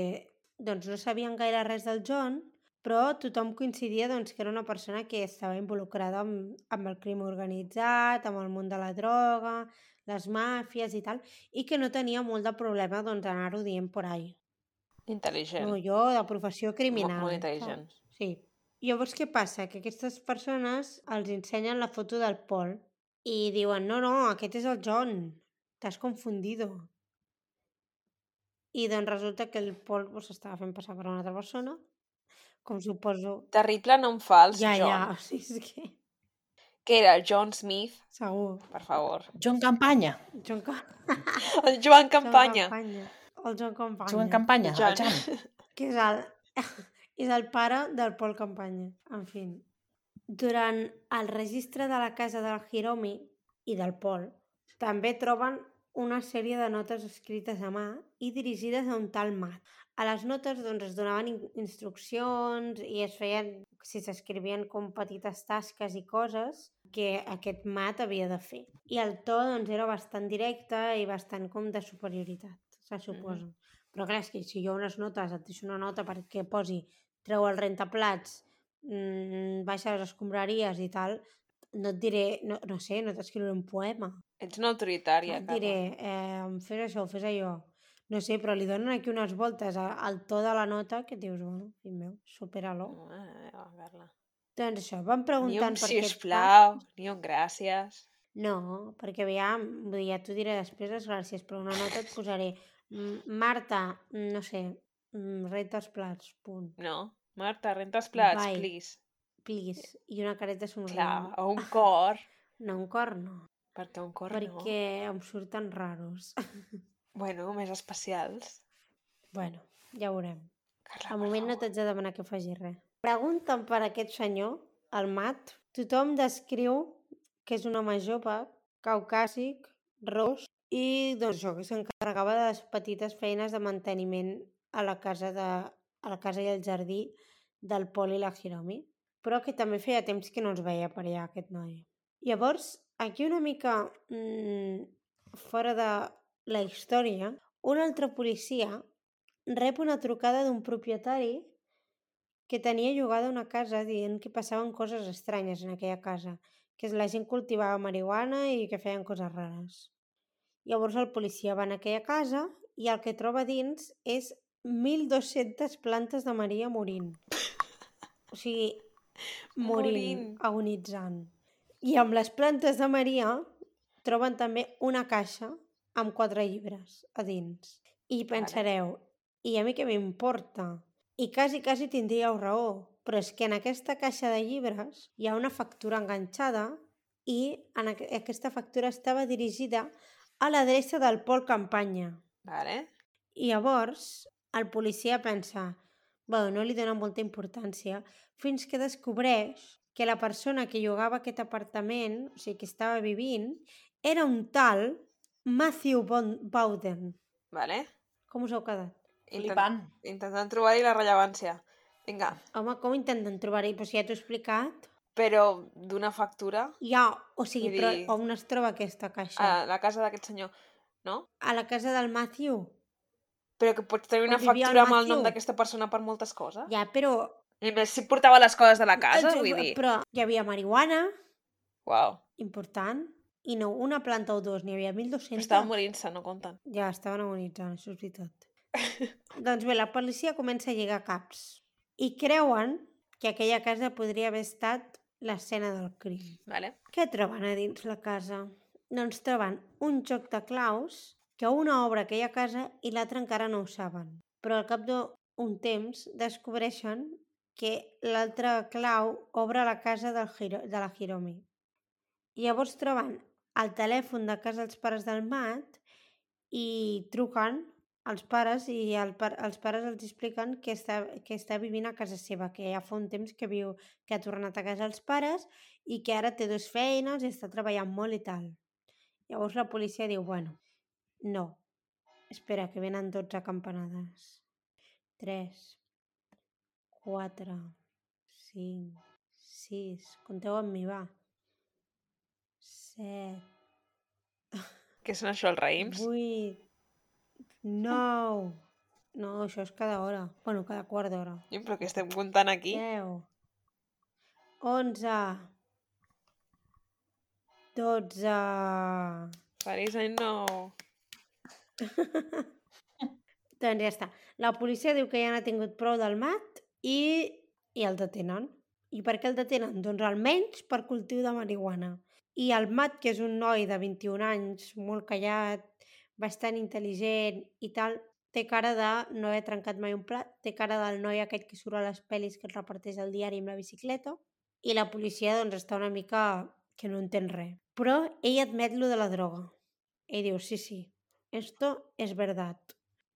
B: doncs, no sabien gaire res del John, però tothom coincidia doncs, que era una persona que estava involucrada amb, amb el crim organitzat, amb el món de la droga, les màfies i tal, i que no tenia molt de problema doncs, anar-ho dient por ahí.
A: Intel·ligent.
B: No,
A: Mo-
B: jo, de professió criminal. eh,
A: Molt
B: saps?
A: intel·ligent.
B: Sí. Llavors, què passa? Que aquestes persones els ensenyen la foto del Pol i diuen, no, no, aquest és el John, t'has confundido. I doncs resulta que el Pol pues, estava fent passar per una altra persona, com suposo...
A: Terrible nom fals,
B: ja, ja,
A: John.
B: o sigui, és que...
A: Que era el John Smith,
B: Segur.
A: per favor.
D: John Campanya,
B: John, Ca-
A: El Joan
B: John
A: Campanya.
B: Campanya. El John Campanya.
D: Joan Campanya,
A: John.
D: el Jan.
B: que és el, és el pare del Pol Campanya. En fi, durant el registre de la casa del Hiromi i del Pol, també troben una sèrie de notes escrites a mà i dirigides a un tal Matt. A les notes doncs, es donaven in- instruccions i es feien, si s'escrivien com petites tasques i coses que aquest Matt havia de fer. I el to doncs, era bastant directe i bastant com de superioritat, se suposa. Però clar, és que si jo unes notes et deixo una nota perquè posi treu el rentaplats, mmm, baixa les escombraries i tal, no et diré, no, no sé, no t'escriuré un poema.
A: Ets una
B: No
A: autoritària,
B: et
A: Carla.
B: diré, eh, fes això, fes allò. No sé, però li donen aquí unes voltes a- al to de la nota que dius, bueno, fill meu, supera-lo.
A: Mare meva, eh, Carla.
B: Doncs això, van
A: Ni Mm.
B: preguntant
A: un
B: per aquest pa.
A: sisplau, ni un gràcies.
B: No, perquè aviam, vull dir, ja t'ho diré després les gràcies, però una nota et posaré. "Mm, Marta, mm, no sé, mm, renta els plats, punt.
A: No. Marta, renta els plats,
B: Bye.
A: please.
B: please, i una careta somriure.
A: Clar, o un cor.
B: No, un corno.
A: Perquè un cor no.
B: Perquè em surten raros.
A: Bueno, més especials.
B: bueno, ja veurem.
A: Carla, per
B: Al moment no
A: favor.
B: t'haig de demanar que faci res. Pregunta'm per aquest senyor, el Mat. Tothom descriu que és un home jove, caucàsic, ros, i doncs això, que s'encarregava de les petites feines de manteniment a la casa, de, a la casa i al jardí del Pol i la Hiromi, però que també feia temps que no els veia per allà, aquest noi. Llavors, aquí una mica mm, fora de la història, un altre policia rep una trucada d'un propietari que tenia llogada una casa dient que passaven coses estranyes en aquella casa, que la gent cultivava marihuana i que feien coses rares. Llavors el policia va en aquella casa i el que troba dins és 1.200 plantes de Maria morint. O sigui, morint, morint,
A: Morint.
B: agonitzant. I amb les plantes de Maria troben també una caixa amb quatre llibres a dins. I pensareu, i a mi què m'importa? I quasi, quasi tindríeu raó, però és que en aquesta caixa de llibres hi ha una factura enganxada i en aqu aquesta factura estava dirigida a l'adreça del Pol Campanya.
A: Vale.
B: I llavors el policia pensa, bueno, no li dona molta importància, fins que descobreix que la persona que llogava aquest apartament, o sigui, que estava vivint, era un tal Matthew Bon- Bowden.
A: Vale.
B: Com us heu quedat?
D: Flipant.
A: intentant trobar-hi la rellevància. Vinga,
B: Home, com intenten trobar-hi? Però si ja t'ho he explicat.
A: però d'una factura
B: Ja, o sigui,
A: Vull
B: però
A: dir- Ah.
B: on es troba aquesta
A: a
B: caixa?
A: la casa d'aquest senyor, no?
B: A la casa del Matthew.
A: Però que pots tenir una
B: On vivia el
A: factura amb el nom
B: Matthew.
A: d'aquesta persona per moltes coses.
B: Ja, però...
A: I més si portava les coses de la casa,
B: Eh,
A: vull dir.
B: Però hi havia marihuana,
A: Uau.
B: important, i no una planta o dos, n'hi havia 1.200.
A: Estava morint-se, no compten.
B: Ja, estaven agonitzant, això és veritat. doncs bé, la policia comença a lligar caps i creuen que aquella casa podria haver estat l'escena del crim.
A: Vale.
B: Què troben a dins la casa? Doncs troben un joc de claus que una obre aquella casa i l'altra encara no ho saben. Però al cap d'un temps descobreixen que l'altra clau obre la casa del Hiro, de la Hiromi. Llavors troben el telèfon de casa dels pares del Mat i truquen als pares i el, par- els pares els expliquen que està, que està vivint a casa seva, que ja fa un temps que viu, que ha tornat a casa els pares i que ara té dues feines i està treballant molt i tal. Llavors la policia diu, bueno, no, espera, que venen 12 campanades. 3, 4, 5, 6, compteu amb mi, va. 7,
A: Què són això, els raïms?
B: 8, 9... No, això és cada hora. Bueno, cada quart d'hora.
A: Ui, Però que estem comptant aquí?
B: 10, 11, 12...
A: Feliç any nou.
B: Doncs ja està. La policia diu que ja n'ha tingut prou del mat i, i el detenen. I per què el detenen? Doncs almenys per cultiu de marihuana. I el mat, que és un noi de 21 anys, molt callat, bastant intel·ligent i tal, té cara de no haver trencat mai un plat, té cara del noi aquest que surt a les pel·lis que et reparteix el diari amb la bicicleta. I la policia doncs està una mica que no entén res. Però ell admet lo de la droga. Ell diu, sí, sí, esto es verdad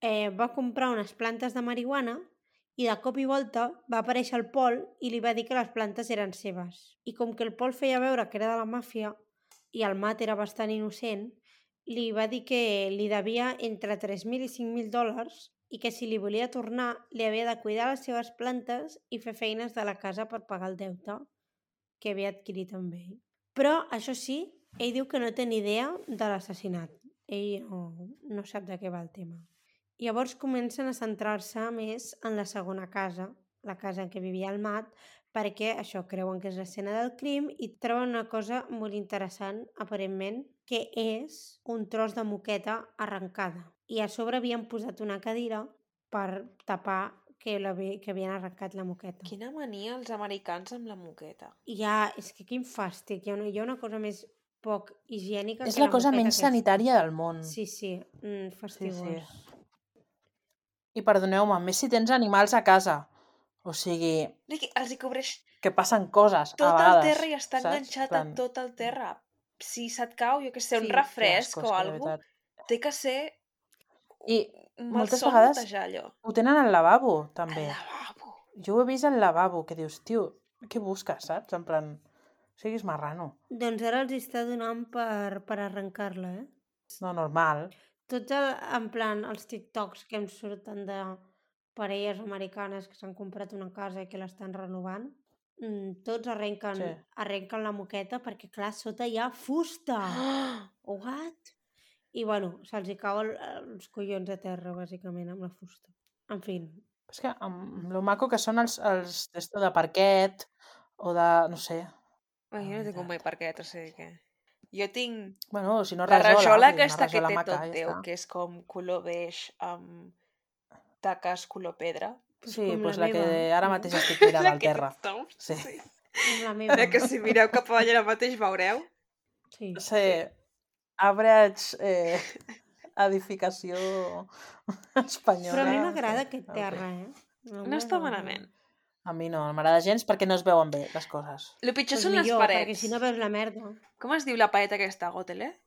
B: eh, va comprar unes plantes de marihuana i de cop i volta va aparèixer el Pol i li va dir que les plantes eren seves. I com que el Pol feia veure que era de la màfia i el Mat era bastant innocent, li va dir que li devia entre 3.000 i 5.000 dòlars i que si li volia tornar li havia de cuidar les seves plantes i fer feines de la casa per pagar el deute que havia adquirit amb ell. Però, això sí, ell diu que no té ni idea de l'assassinat. Ell no, no sap de què va el tema. Llavors comencen a centrar-se més en la segona casa, la casa en què vivia el Mat, perquè això creuen que és l'escena del crim i troben una cosa molt interessant, aparentment, que és un tros de moqueta arrencada. I a sobre havien posat una cadira per tapar que, la, que havien arrencat la moqueta.
A: Quina mania els americans amb la moqueta.
B: Ja, és que quin fàstic. Hi ha una, hi ha una cosa més poc higiènica
D: És la cosa
B: moqueta
D: menys
B: aquesta.
D: sanitària del món.
B: Sí, sí, mm, fastigós. Sí, sí.
D: doncs. I perdoneu-me, més si tens animals a casa. O sigui,
A: Vull dir que Els hi cobreix
D: que passen coses
A: tot
D: a vegades.
A: el terra i està
D: saps?
A: enganxat
D: Plan, mm.
A: a tot el terra. si se't cau, jo que sé, un
D: Sí, té
A: refresc
D: ascos,
A: o
D: de
A: alguna
D: veritat.
A: té que ser
D: I moltes
A: moltes
D: vegades-
A: vegades netejar allò.
D: ho tenen al lavabo, també.
A: Al lavabo.
D: Jo ho he vist al lavabo, que dius, tio, què busques, saps? En plan, siguis marrano.
B: Doncs ara els està donant per, per arrencar-la, eh?
D: No, normal.
B: Tots el, en plan els TikToks que em surten de parelles americanes que s'han comprat una casa i que l'estan renovant, mm, tots arrenquen, sí.
D: Sí.
B: arrenquen la moqueta perquè, clar, sota hi ha fusta.
A: Ah!
B: What? I, bueno, se'ls hi cau el, els collons a terra, bàsicament, amb la fusta. En fi,
D: És que amb amb lo maco que són els, els d'esto de parquet o de, no sé,
A: Ai, jo no tinc
D: Ah, veritat.
A: un mai parquet, o sigui que... Jo tinc
D: bueno, si no
A: la
D: rajola. vull dir,
A: rajola
D: una
A: aquesta que
D: rajola
A: té
D: maca,
A: tot
D: ja
A: teu,
D: està.
A: que és com color beix amb taques color pedra.
B: Pues
D: Sí,
B: com
D: doncs
B: la
D: la, que
B: meva,
D: ara
B: no?
D: mateix estic mirant
A: La
D: al
A: que
D: terra.
A: tothom-
D: Sí.
B: com la meva.
A: Ara que si mireu cap avall ara mateix veureu.
B: Sí.
D: Sí. Abrats, eh, edificació espanyola.
B: Però a mi
A: Hola.
B: m'agrada
D: Sí,
B: aquest
D: en fi.
B: terra, eh?
A: No
D: Mm.
A: està malament.
D: A mi no, no m'agrada gens perquè no es veuen bé les coses.
A: El pitjor
B: Pues
A: són les
B: millor, perquè
A: parets.
B: si no veus la merda.
A: Com es diu la paret aquesta? Gotelé?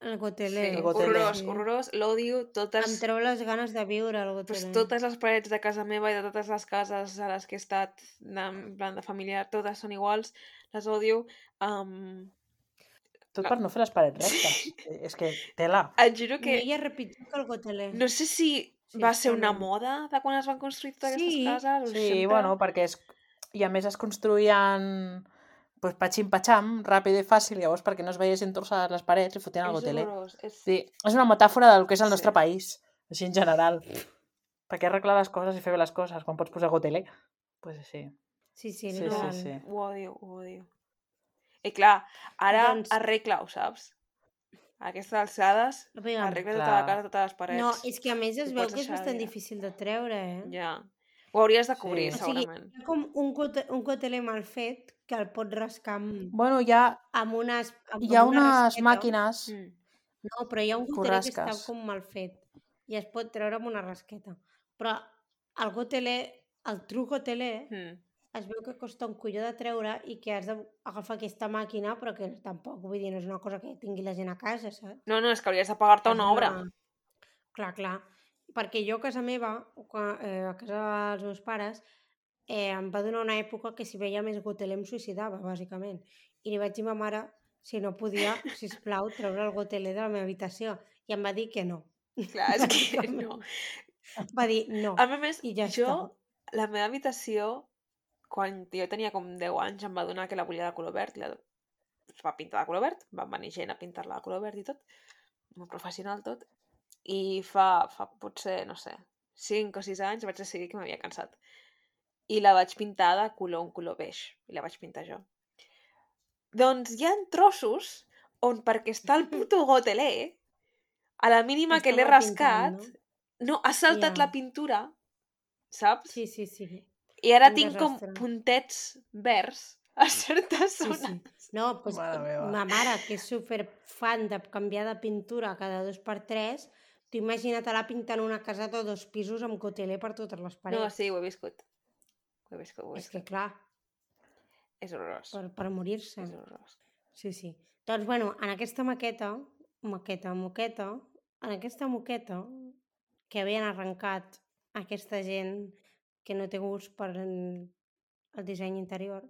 B: El goteler.
A: Sí,
D: El gotelé.
A: horrorós, horrorós. L'odio,
B: Em
A: totes,
B: treu les ganes de viure, el goteler.
A: pues, totes les parets de casa meva i de totes les cases a les que he estat, de, en plan de familiar, totes són iguals, les odio. Um,
B: Ah.
D: Tot per no fer les parets rectes. eh, És que tela.
A: et juro
B: que...
A: que
B: Ella és pitjor que el goteler.
A: no sé si
B: Sí,
A: va
B: és
A: ser una
B: horrible.
A: moda de quan es van construir totes
B: Sí,
A: aquestes cases. o
D: Sí,
A: sempre-
D: bueno, perquè és... I a més es construïen pues, patxim-patxam, ràpid i fàcil, llavors perquè no es veiessin torçades les parets i fotien el
A: és
D: gotelé.
A: horrorós. És...
D: Sí, és una metàfora del que és el
A: Sí.
D: nostre país, així en general. Perquè arreglar les coses i fer bé les coses, quan pots posar gotelé. Pues sí.
B: Sí, sí,
D: Sí,
B: no.
A: sí,
D: sí.
A: Ho odio, ho odio. I clar, ara
B: Doncs-
A: doncs... arregla-ho, saps? A aquestes alçades,
B: Aviam.
A: arregla tota la
D: Clar.
A: casa, totes les parets.
B: No, és que a més es
A: Ho
B: veu
A: pots
B: que és
A: deixar,
B: bastant
A: ja.
B: difícil de treure, eh?
A: Ja. Ho hauries de cobrir,
D: Sí.
A: sí.
B: O sigui,
A: segurament.
B: Hi ha com un, gote, un goteler mal fet que el pot rascar amb,
D: Bueno, hi ha,
B: amb unes... Amb,
D: hi ha
B: amb una
D: unes
B: rasqueta.
D: màquines...
A: Mm.
B: No, però hi ha un
D: que ho
B: goteler que està
D: rasques.
B: com mal fet i es pot treure amb una rasqueta. Però el goteler, el true goteler,
A: Mm.
B: es veu que costa un colló de treure i que has d'agafar aquesta màquina, però que tampoc, vull dir, no és una cosa que tingui la gent a casa, saps?
A: No, no, és que hauries de pagar-te
B: És
A: una obra.
B: Clar, clar. Perquè jo a casa meva, o qua- eh, a casa dels meus pares, eh, em va donar una època que si veia més goteler em suïcidava, bàsicament. I li vaig dir a ma mare si no podia, si plau, treure el goteler de la meva habitació. I em va dir que no.
A: Clar, és que no.
B: Va dir no.
A: A més,
B: I ja
A: jo,
B: està.
A: la meva habitació, quan jo tenia com 10 anys, em va donar que la volia de color verd. i La... Es va pintar de color verd, van venir gent a pintar-la de color verd i tot. Molt professional tot. I fa, fa potser, no sé, 5 o 6 anys vaig decidir que m'havia cansat. I la vaig pintar de color, un color beix. I la vaig pintar jo. Doncs hi ha trossos on perquè està el puto gotelé, a la mínima que l'he
B: Estava pintant,
A: rascat,
B: no?
A: no, ha saltat
B: Ja.
A: la pintura, saps?
B: Sí, sí, sí.
A: I ara
B: un
A: tinc com
B: desastre.
A: puntets verds a certes
B: Sí,
A: zones.
B: sí. No, pues,
D: Mare
B: eh,
D: meva.
B: ma mare, que és super fan de canviar de pintura cada dos per tres, tu imagina't-la pintant una casa de dos pisos amb coteler per totes les
A: No,
B: parets.
A: sí, ho he viscut. Ho he viscut, ho he
B: és que,
A: viscut.
B: clar,
A: És horrorós.
B: per, per morir-se.
A: És horrorós.
B: Sí, sí. Doncs, bueno, en aquesta maqueta, maqueta, moqueta, en aquesta moqueta que havien arrencat aquesta gent que no té gust per en- el disseny interior,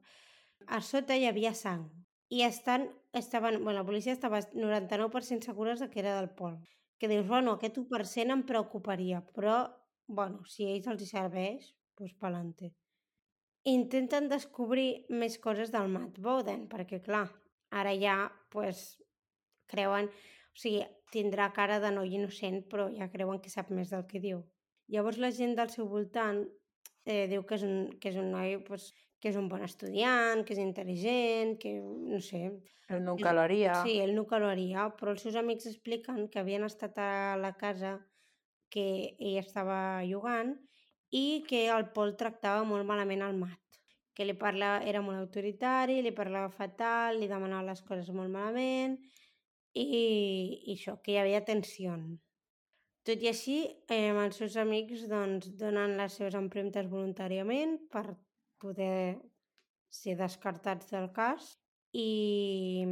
B: a sota hi havia sang. I estan, estaven, bueno, la policia estava 99% segures de que era del Pol. Que dius, bueno, aquest 1% em preocuparia, però, bueno, si a ells els hi serveix, doncs pa'lante. Intenten descobrir més coses del Matt Bowden, perquè, clar, ara ja, pues, creuen... O sigui, tindrà cara de noi innocent, però ja creuen que sap més del que diu. Llavors la gent del seu voltant eh, diu que és un, que és un noi pues, que és un bon estudiant, que és intel·ligent, que no sé...
D: El
B: És-
D: nunca lo haría.
B: Sí, ell no que lo haria, però els seus amics expliquen que havien estat a la casa que ell estava jugant i que el Pol tractava molt malament el mat. Que li parla, era molt autoritari, li parlava fatal, li demanava les coses molt malament i, i això, que hi havia tensió. Tot i així, eh, els seus amics doncs, donen les seves empremtes voluntàriament per poder ser descartats del cas i,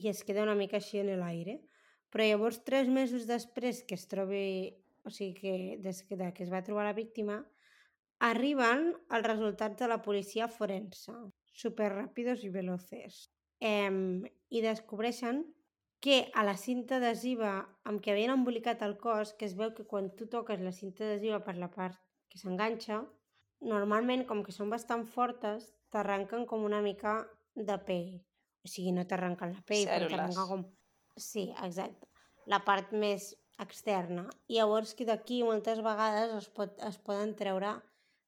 B: i es queda una mica així en l'aire. Però llavors, tres mesos després que es trobi, o sigui, que, des que, de que es va trobar la víctima, arriben els resultats de la policia forense, superràpidos i veloces. Em, I descobreixen que a la cinta adhesiva amb què havien embolicat el cos, que es veu que quan tu toques la cinta adhesiva per la part que s'enganxa, normalment, com que són bastant fortes, t'arrenquen com una mica de pell. O sigui, no t'arrenquen la pell, però
A: Cèl·lules.
B: t'arrenquen com... Sí, exacte. La part més externa. I llavors que d'aquí moltes vegades es, pot, es poden treure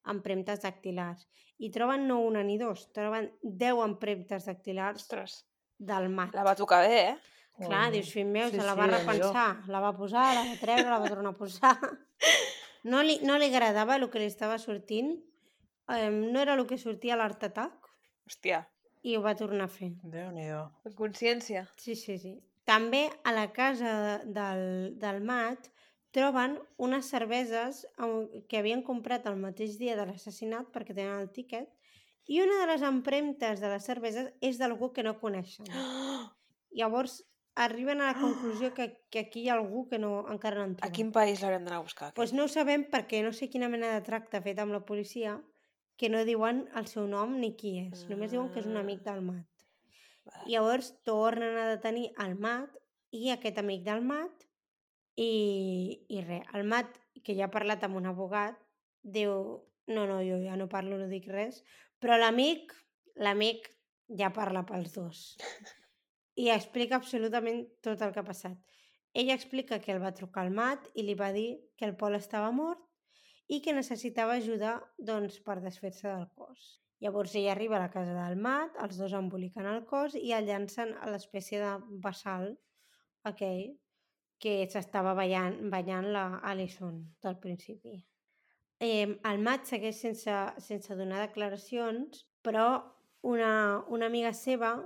B: empremtes dactilars. I troben no una ni dos, troben 10 empremtes dactilars
A: Ostres,
B: del mat.
A: la va tocar bé, eh?
B: Clar, dius, fill meu,
D: Sí,
B: se la
D: sí,
B: va
D: allò.
B: repensar, la va posar, la va treure, la va tornar a posar. No li, no li agradava el que li estava sortint, eh, no era el que sortia a l'Art Attack,
A: Hòstia,
B: i ho va tornar a fer.
D: Déu-n'hi-do.
A: consciència.
B: Sí, sí, sí. També a la casa de- del, del Mat troben unes cerveses amb- que havien comprat el mateix dia de l'assassinat perquè tenen el tiquet i una de les empremtes de les cerveses és d'algú que no coneixen.
A: Ah!
B: Llavors, arriben a la conclusió que, que aquí hi ha algú que no, encara no han
A: A
B: trobat.
A: quin país l'haurem d'anar a buscar?
B: pues no ho sabem perquè no sé quina mena de tracte ha fet amb la policia que no diuen el seu nom ni qui és. Només diuen que és un
A: Ah.
B: amic del mat.
A: Val.
B: Llavors tornen a detenir el mat i aquest amic del mat i, i res. El mat, que ja ha parlat amb un abogat, diu no, no, jo ja no parlo, no dic res, però l'amic, l'amic ja parla pels dos i explica absolutament tot el que ha passat. Ella explica que el va trucar al mat i li va dir que el Pol estava mort i que necessitava ajuda doncs, per desfer-se del cos. Llavors ella arriba a la casa del mat, els dos emboliquen el cos i el llancen a l'espècie de vessal aquell que s'estava ballant, ballant la Alison del principi. Eh, el mat segueix sense, sense donar declaracions, però una, una amiga seva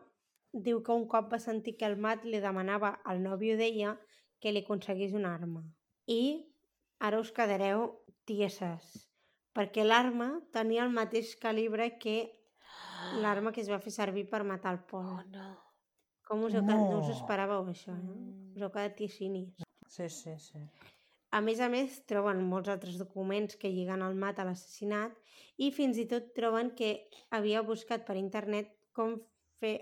B: diu que un cop va sentir que el mat li demanava al nòvio d'ella que li aconseguís una arma. I ara us quedareu tieses, perquè l'arma tenia el mateix calibre que l'arma que es va fer servir per matar el Pol.
A: Ah. Oh, no.
B: Com us heu quedat? No us ho
D: No.
B: esperàveu, això, no?
A: Mm.
B: Us heu quedat ticinis.
D: Sí, sí, sí.
B: A més a més, troben molts altres documents que lliguen el mat a l'assassinat i fins i tot troben que havia buscat per internet com fer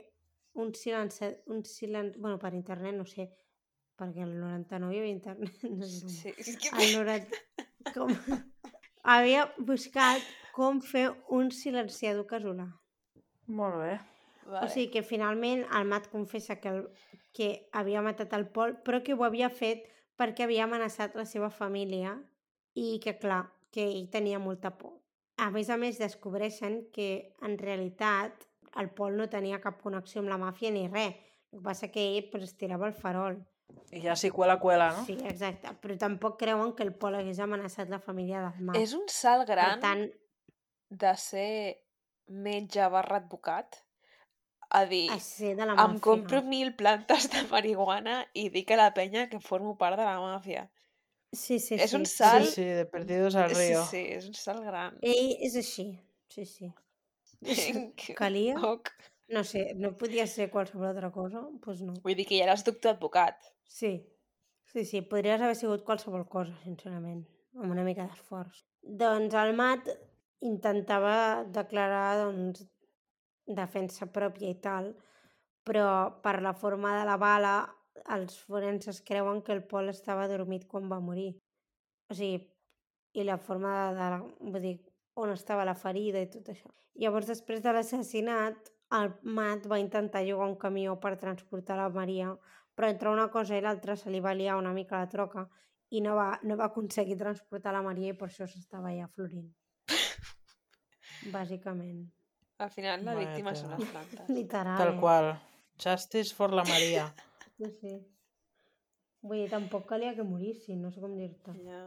B: un silenci... Un silen... bueno, per internet, no sé, perquè el 99 hi havia internet. No sé com.
A: Sí. és que-
B: El 90... com... havia buscat com fer un silenciador casolà.
D: Molt bé.
A: Vale.
B: O sigui que finalment el Matt confessa que, el, que havia matat el Pol, però que ho havia fet perquè havia amenaçat la seva família i que, clar, que ell tenia molta por. A més a més, descobreixen que, en realitat, el Pol no tenia cap connexió amb la màfia ni res. El que passa que ell pues, estirava el farol.
D: I ja sí, cuela, cuela, no?
B: Sí, exacte. Però tampoc creuen que el Pol hagués amenaçat la família del Matt.
A: És un salt gran
B: Per tant,
A: de ser metge barra advocat a dir,
B: a ser de la màfia.
A: em compro mil plantes de marihuana i dic a la penya que formo part de la màfia.
B: Sí, sí,
A: és
B: sí,
A: un
B: sí.
A: salt
D: Sí, sí, de perdidos al
A: Sí,
D: río.
A: sí, és un salt gran.
B: Ell és així. Sí, sí.
A: Vinc.
B: Calia...
A: Oc.
B: No sé, no podia ser qualsevol altra cosa, doncs pues no.
A: Vull dir que ja eres doctor advocat.
B: Sí, sí, sí, podries haver sigut qualsevol cosa, sincerament, amb una mica d'esforç. Doncs el Mat intentava declarar, doncs, defensa pròpia i tal, però per la forma de la bala els forenses creuen que el Pol estava adormit quan va morir. O sigui, i la forma de, de la, vull dir, on estava la ferida i tot això. Llavors, després de l'assassinat, el Matt va intentar llogar un camió per transportar la Maria, però entre una cosa i l'altra se li va liar una mica la troca i no va, no va aconseguir transportar la Maria i per això s'estava ja florint. Bàsicament.
A: Al final la
D: Mare
A: víctima són
D: teva.
A: les plantes.
B: Literal.
D: Tal
B: eh?
D: qual. Justice for la Maria.
B: Sí, sí. Vull dir, tampoc calia que morissin, no sé com dir-te.
A: Ja.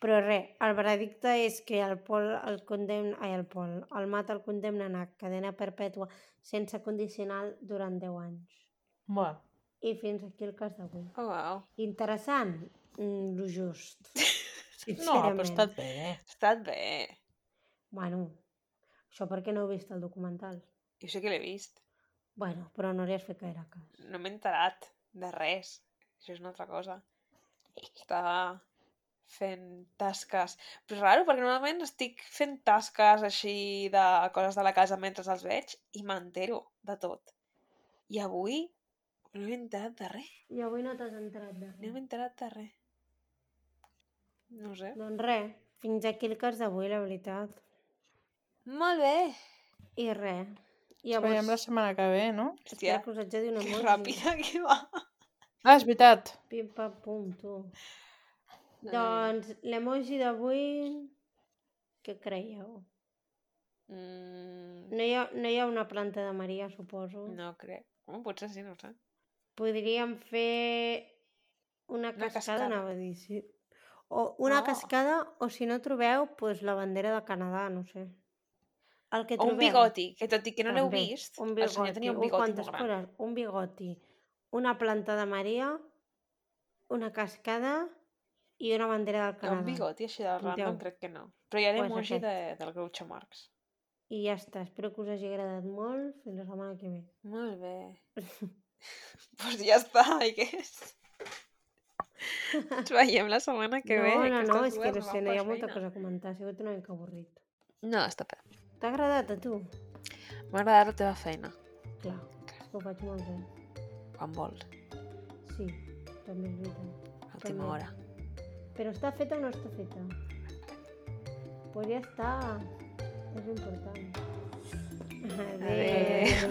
B: Però res, el veredicte és que el Pol el condemna... Ai, el Pol, el Mat el condemnen a cadena perpètua sense condicional durant 10 anys.
D: Bueno,
B: I fins aquí el cas d'avui.
A: Oh, wow.
B: Interessant? Mm, lo just.
D: no, però ha
B: Sincerament.
D: estat bé. eh?
A: Ha estat bé.
B: Bueno, això perquè no heu vist el documental.
A: Jo sé que l'he vist.
B: Bueno, però no li has fet gaire cas.
A: No m'he enterat de res. Això és una altra cosa. Estava fent tasques. Però és raro, perquè normalment estic fent tasques així de coses de la casa mentre els veig i m'entero de tot. I avui no m'he enterat de res.
B: I avui no t'has entrat de
A: No m'he enterat de res. No ho sé.
B: Doncs res, fins aquí el cas d'avui, la veritat.
A: Molt bé!
B: I res. I
D: Llavors... Veiem la
B: llavors,
D: setmana que ve, no?
A: Hòstia,
B: espero que us haig de dir una
A: que
B: emoji.
A: ràpida que va!
D: Ah, és veritat.
B: Pim, pam, pum, tu.
A: Mm.
B: Doncs l'emoji d'avui... Què creieu?
A: Mm,
B: No hi, ha, no hi ha una planta de Maria, suposo.
A: no crec. Home, potser sí, no ho sé.
B: Podríem fer una cascada, una
A: cascada.
B: cascada. anava a dir, sí. O una
A: Ah.
B: oh. cascada, o si no trobeu, doncs la bandera de Canadà, no sé. El que
A: O un
B: trobeu.
A: bigoti, que tot i que no l'heu
B: També,
A: vist, el senyor tenia un bigoti
B: quantes
A: molt gran.
B: coses? Un bigoti, una planta de Maria, una cascada i una bandera del
A: Un
B: Canadà.
A: bigoti així del
B: Punteu.
A: random crec que no. Però hi ha
B: Pues
A: l'emoji
B: aquest.
A: de, del Groucho Marx.
B: I ja està, espero que us hagi agradat molt. Fins la setmana que ve.
A: Molt bé. pues ja està, I què és? Ens veiem la setmana que
B: no,
A: ve.
B: no,
A: aquestes
B: no, és que
A: dues
B: no sé,
A: van
B: no hi ha
A: per
B: molta
A: feina.
B: cosa a comentar. Ha sigut una mica avorrit.
A: No, està bé.
B: T'ha agradat a tu?
A: M'ha agradat la teva feina,
B: Clar, és que ho faig molt bé.
A: quan vols,
B: Sí, també és veritat.
A: a última
B: També.
A: hora.
B: Però està feta o no està feta? Pues ja està. És important.
A: Adéu.
B: Adéu.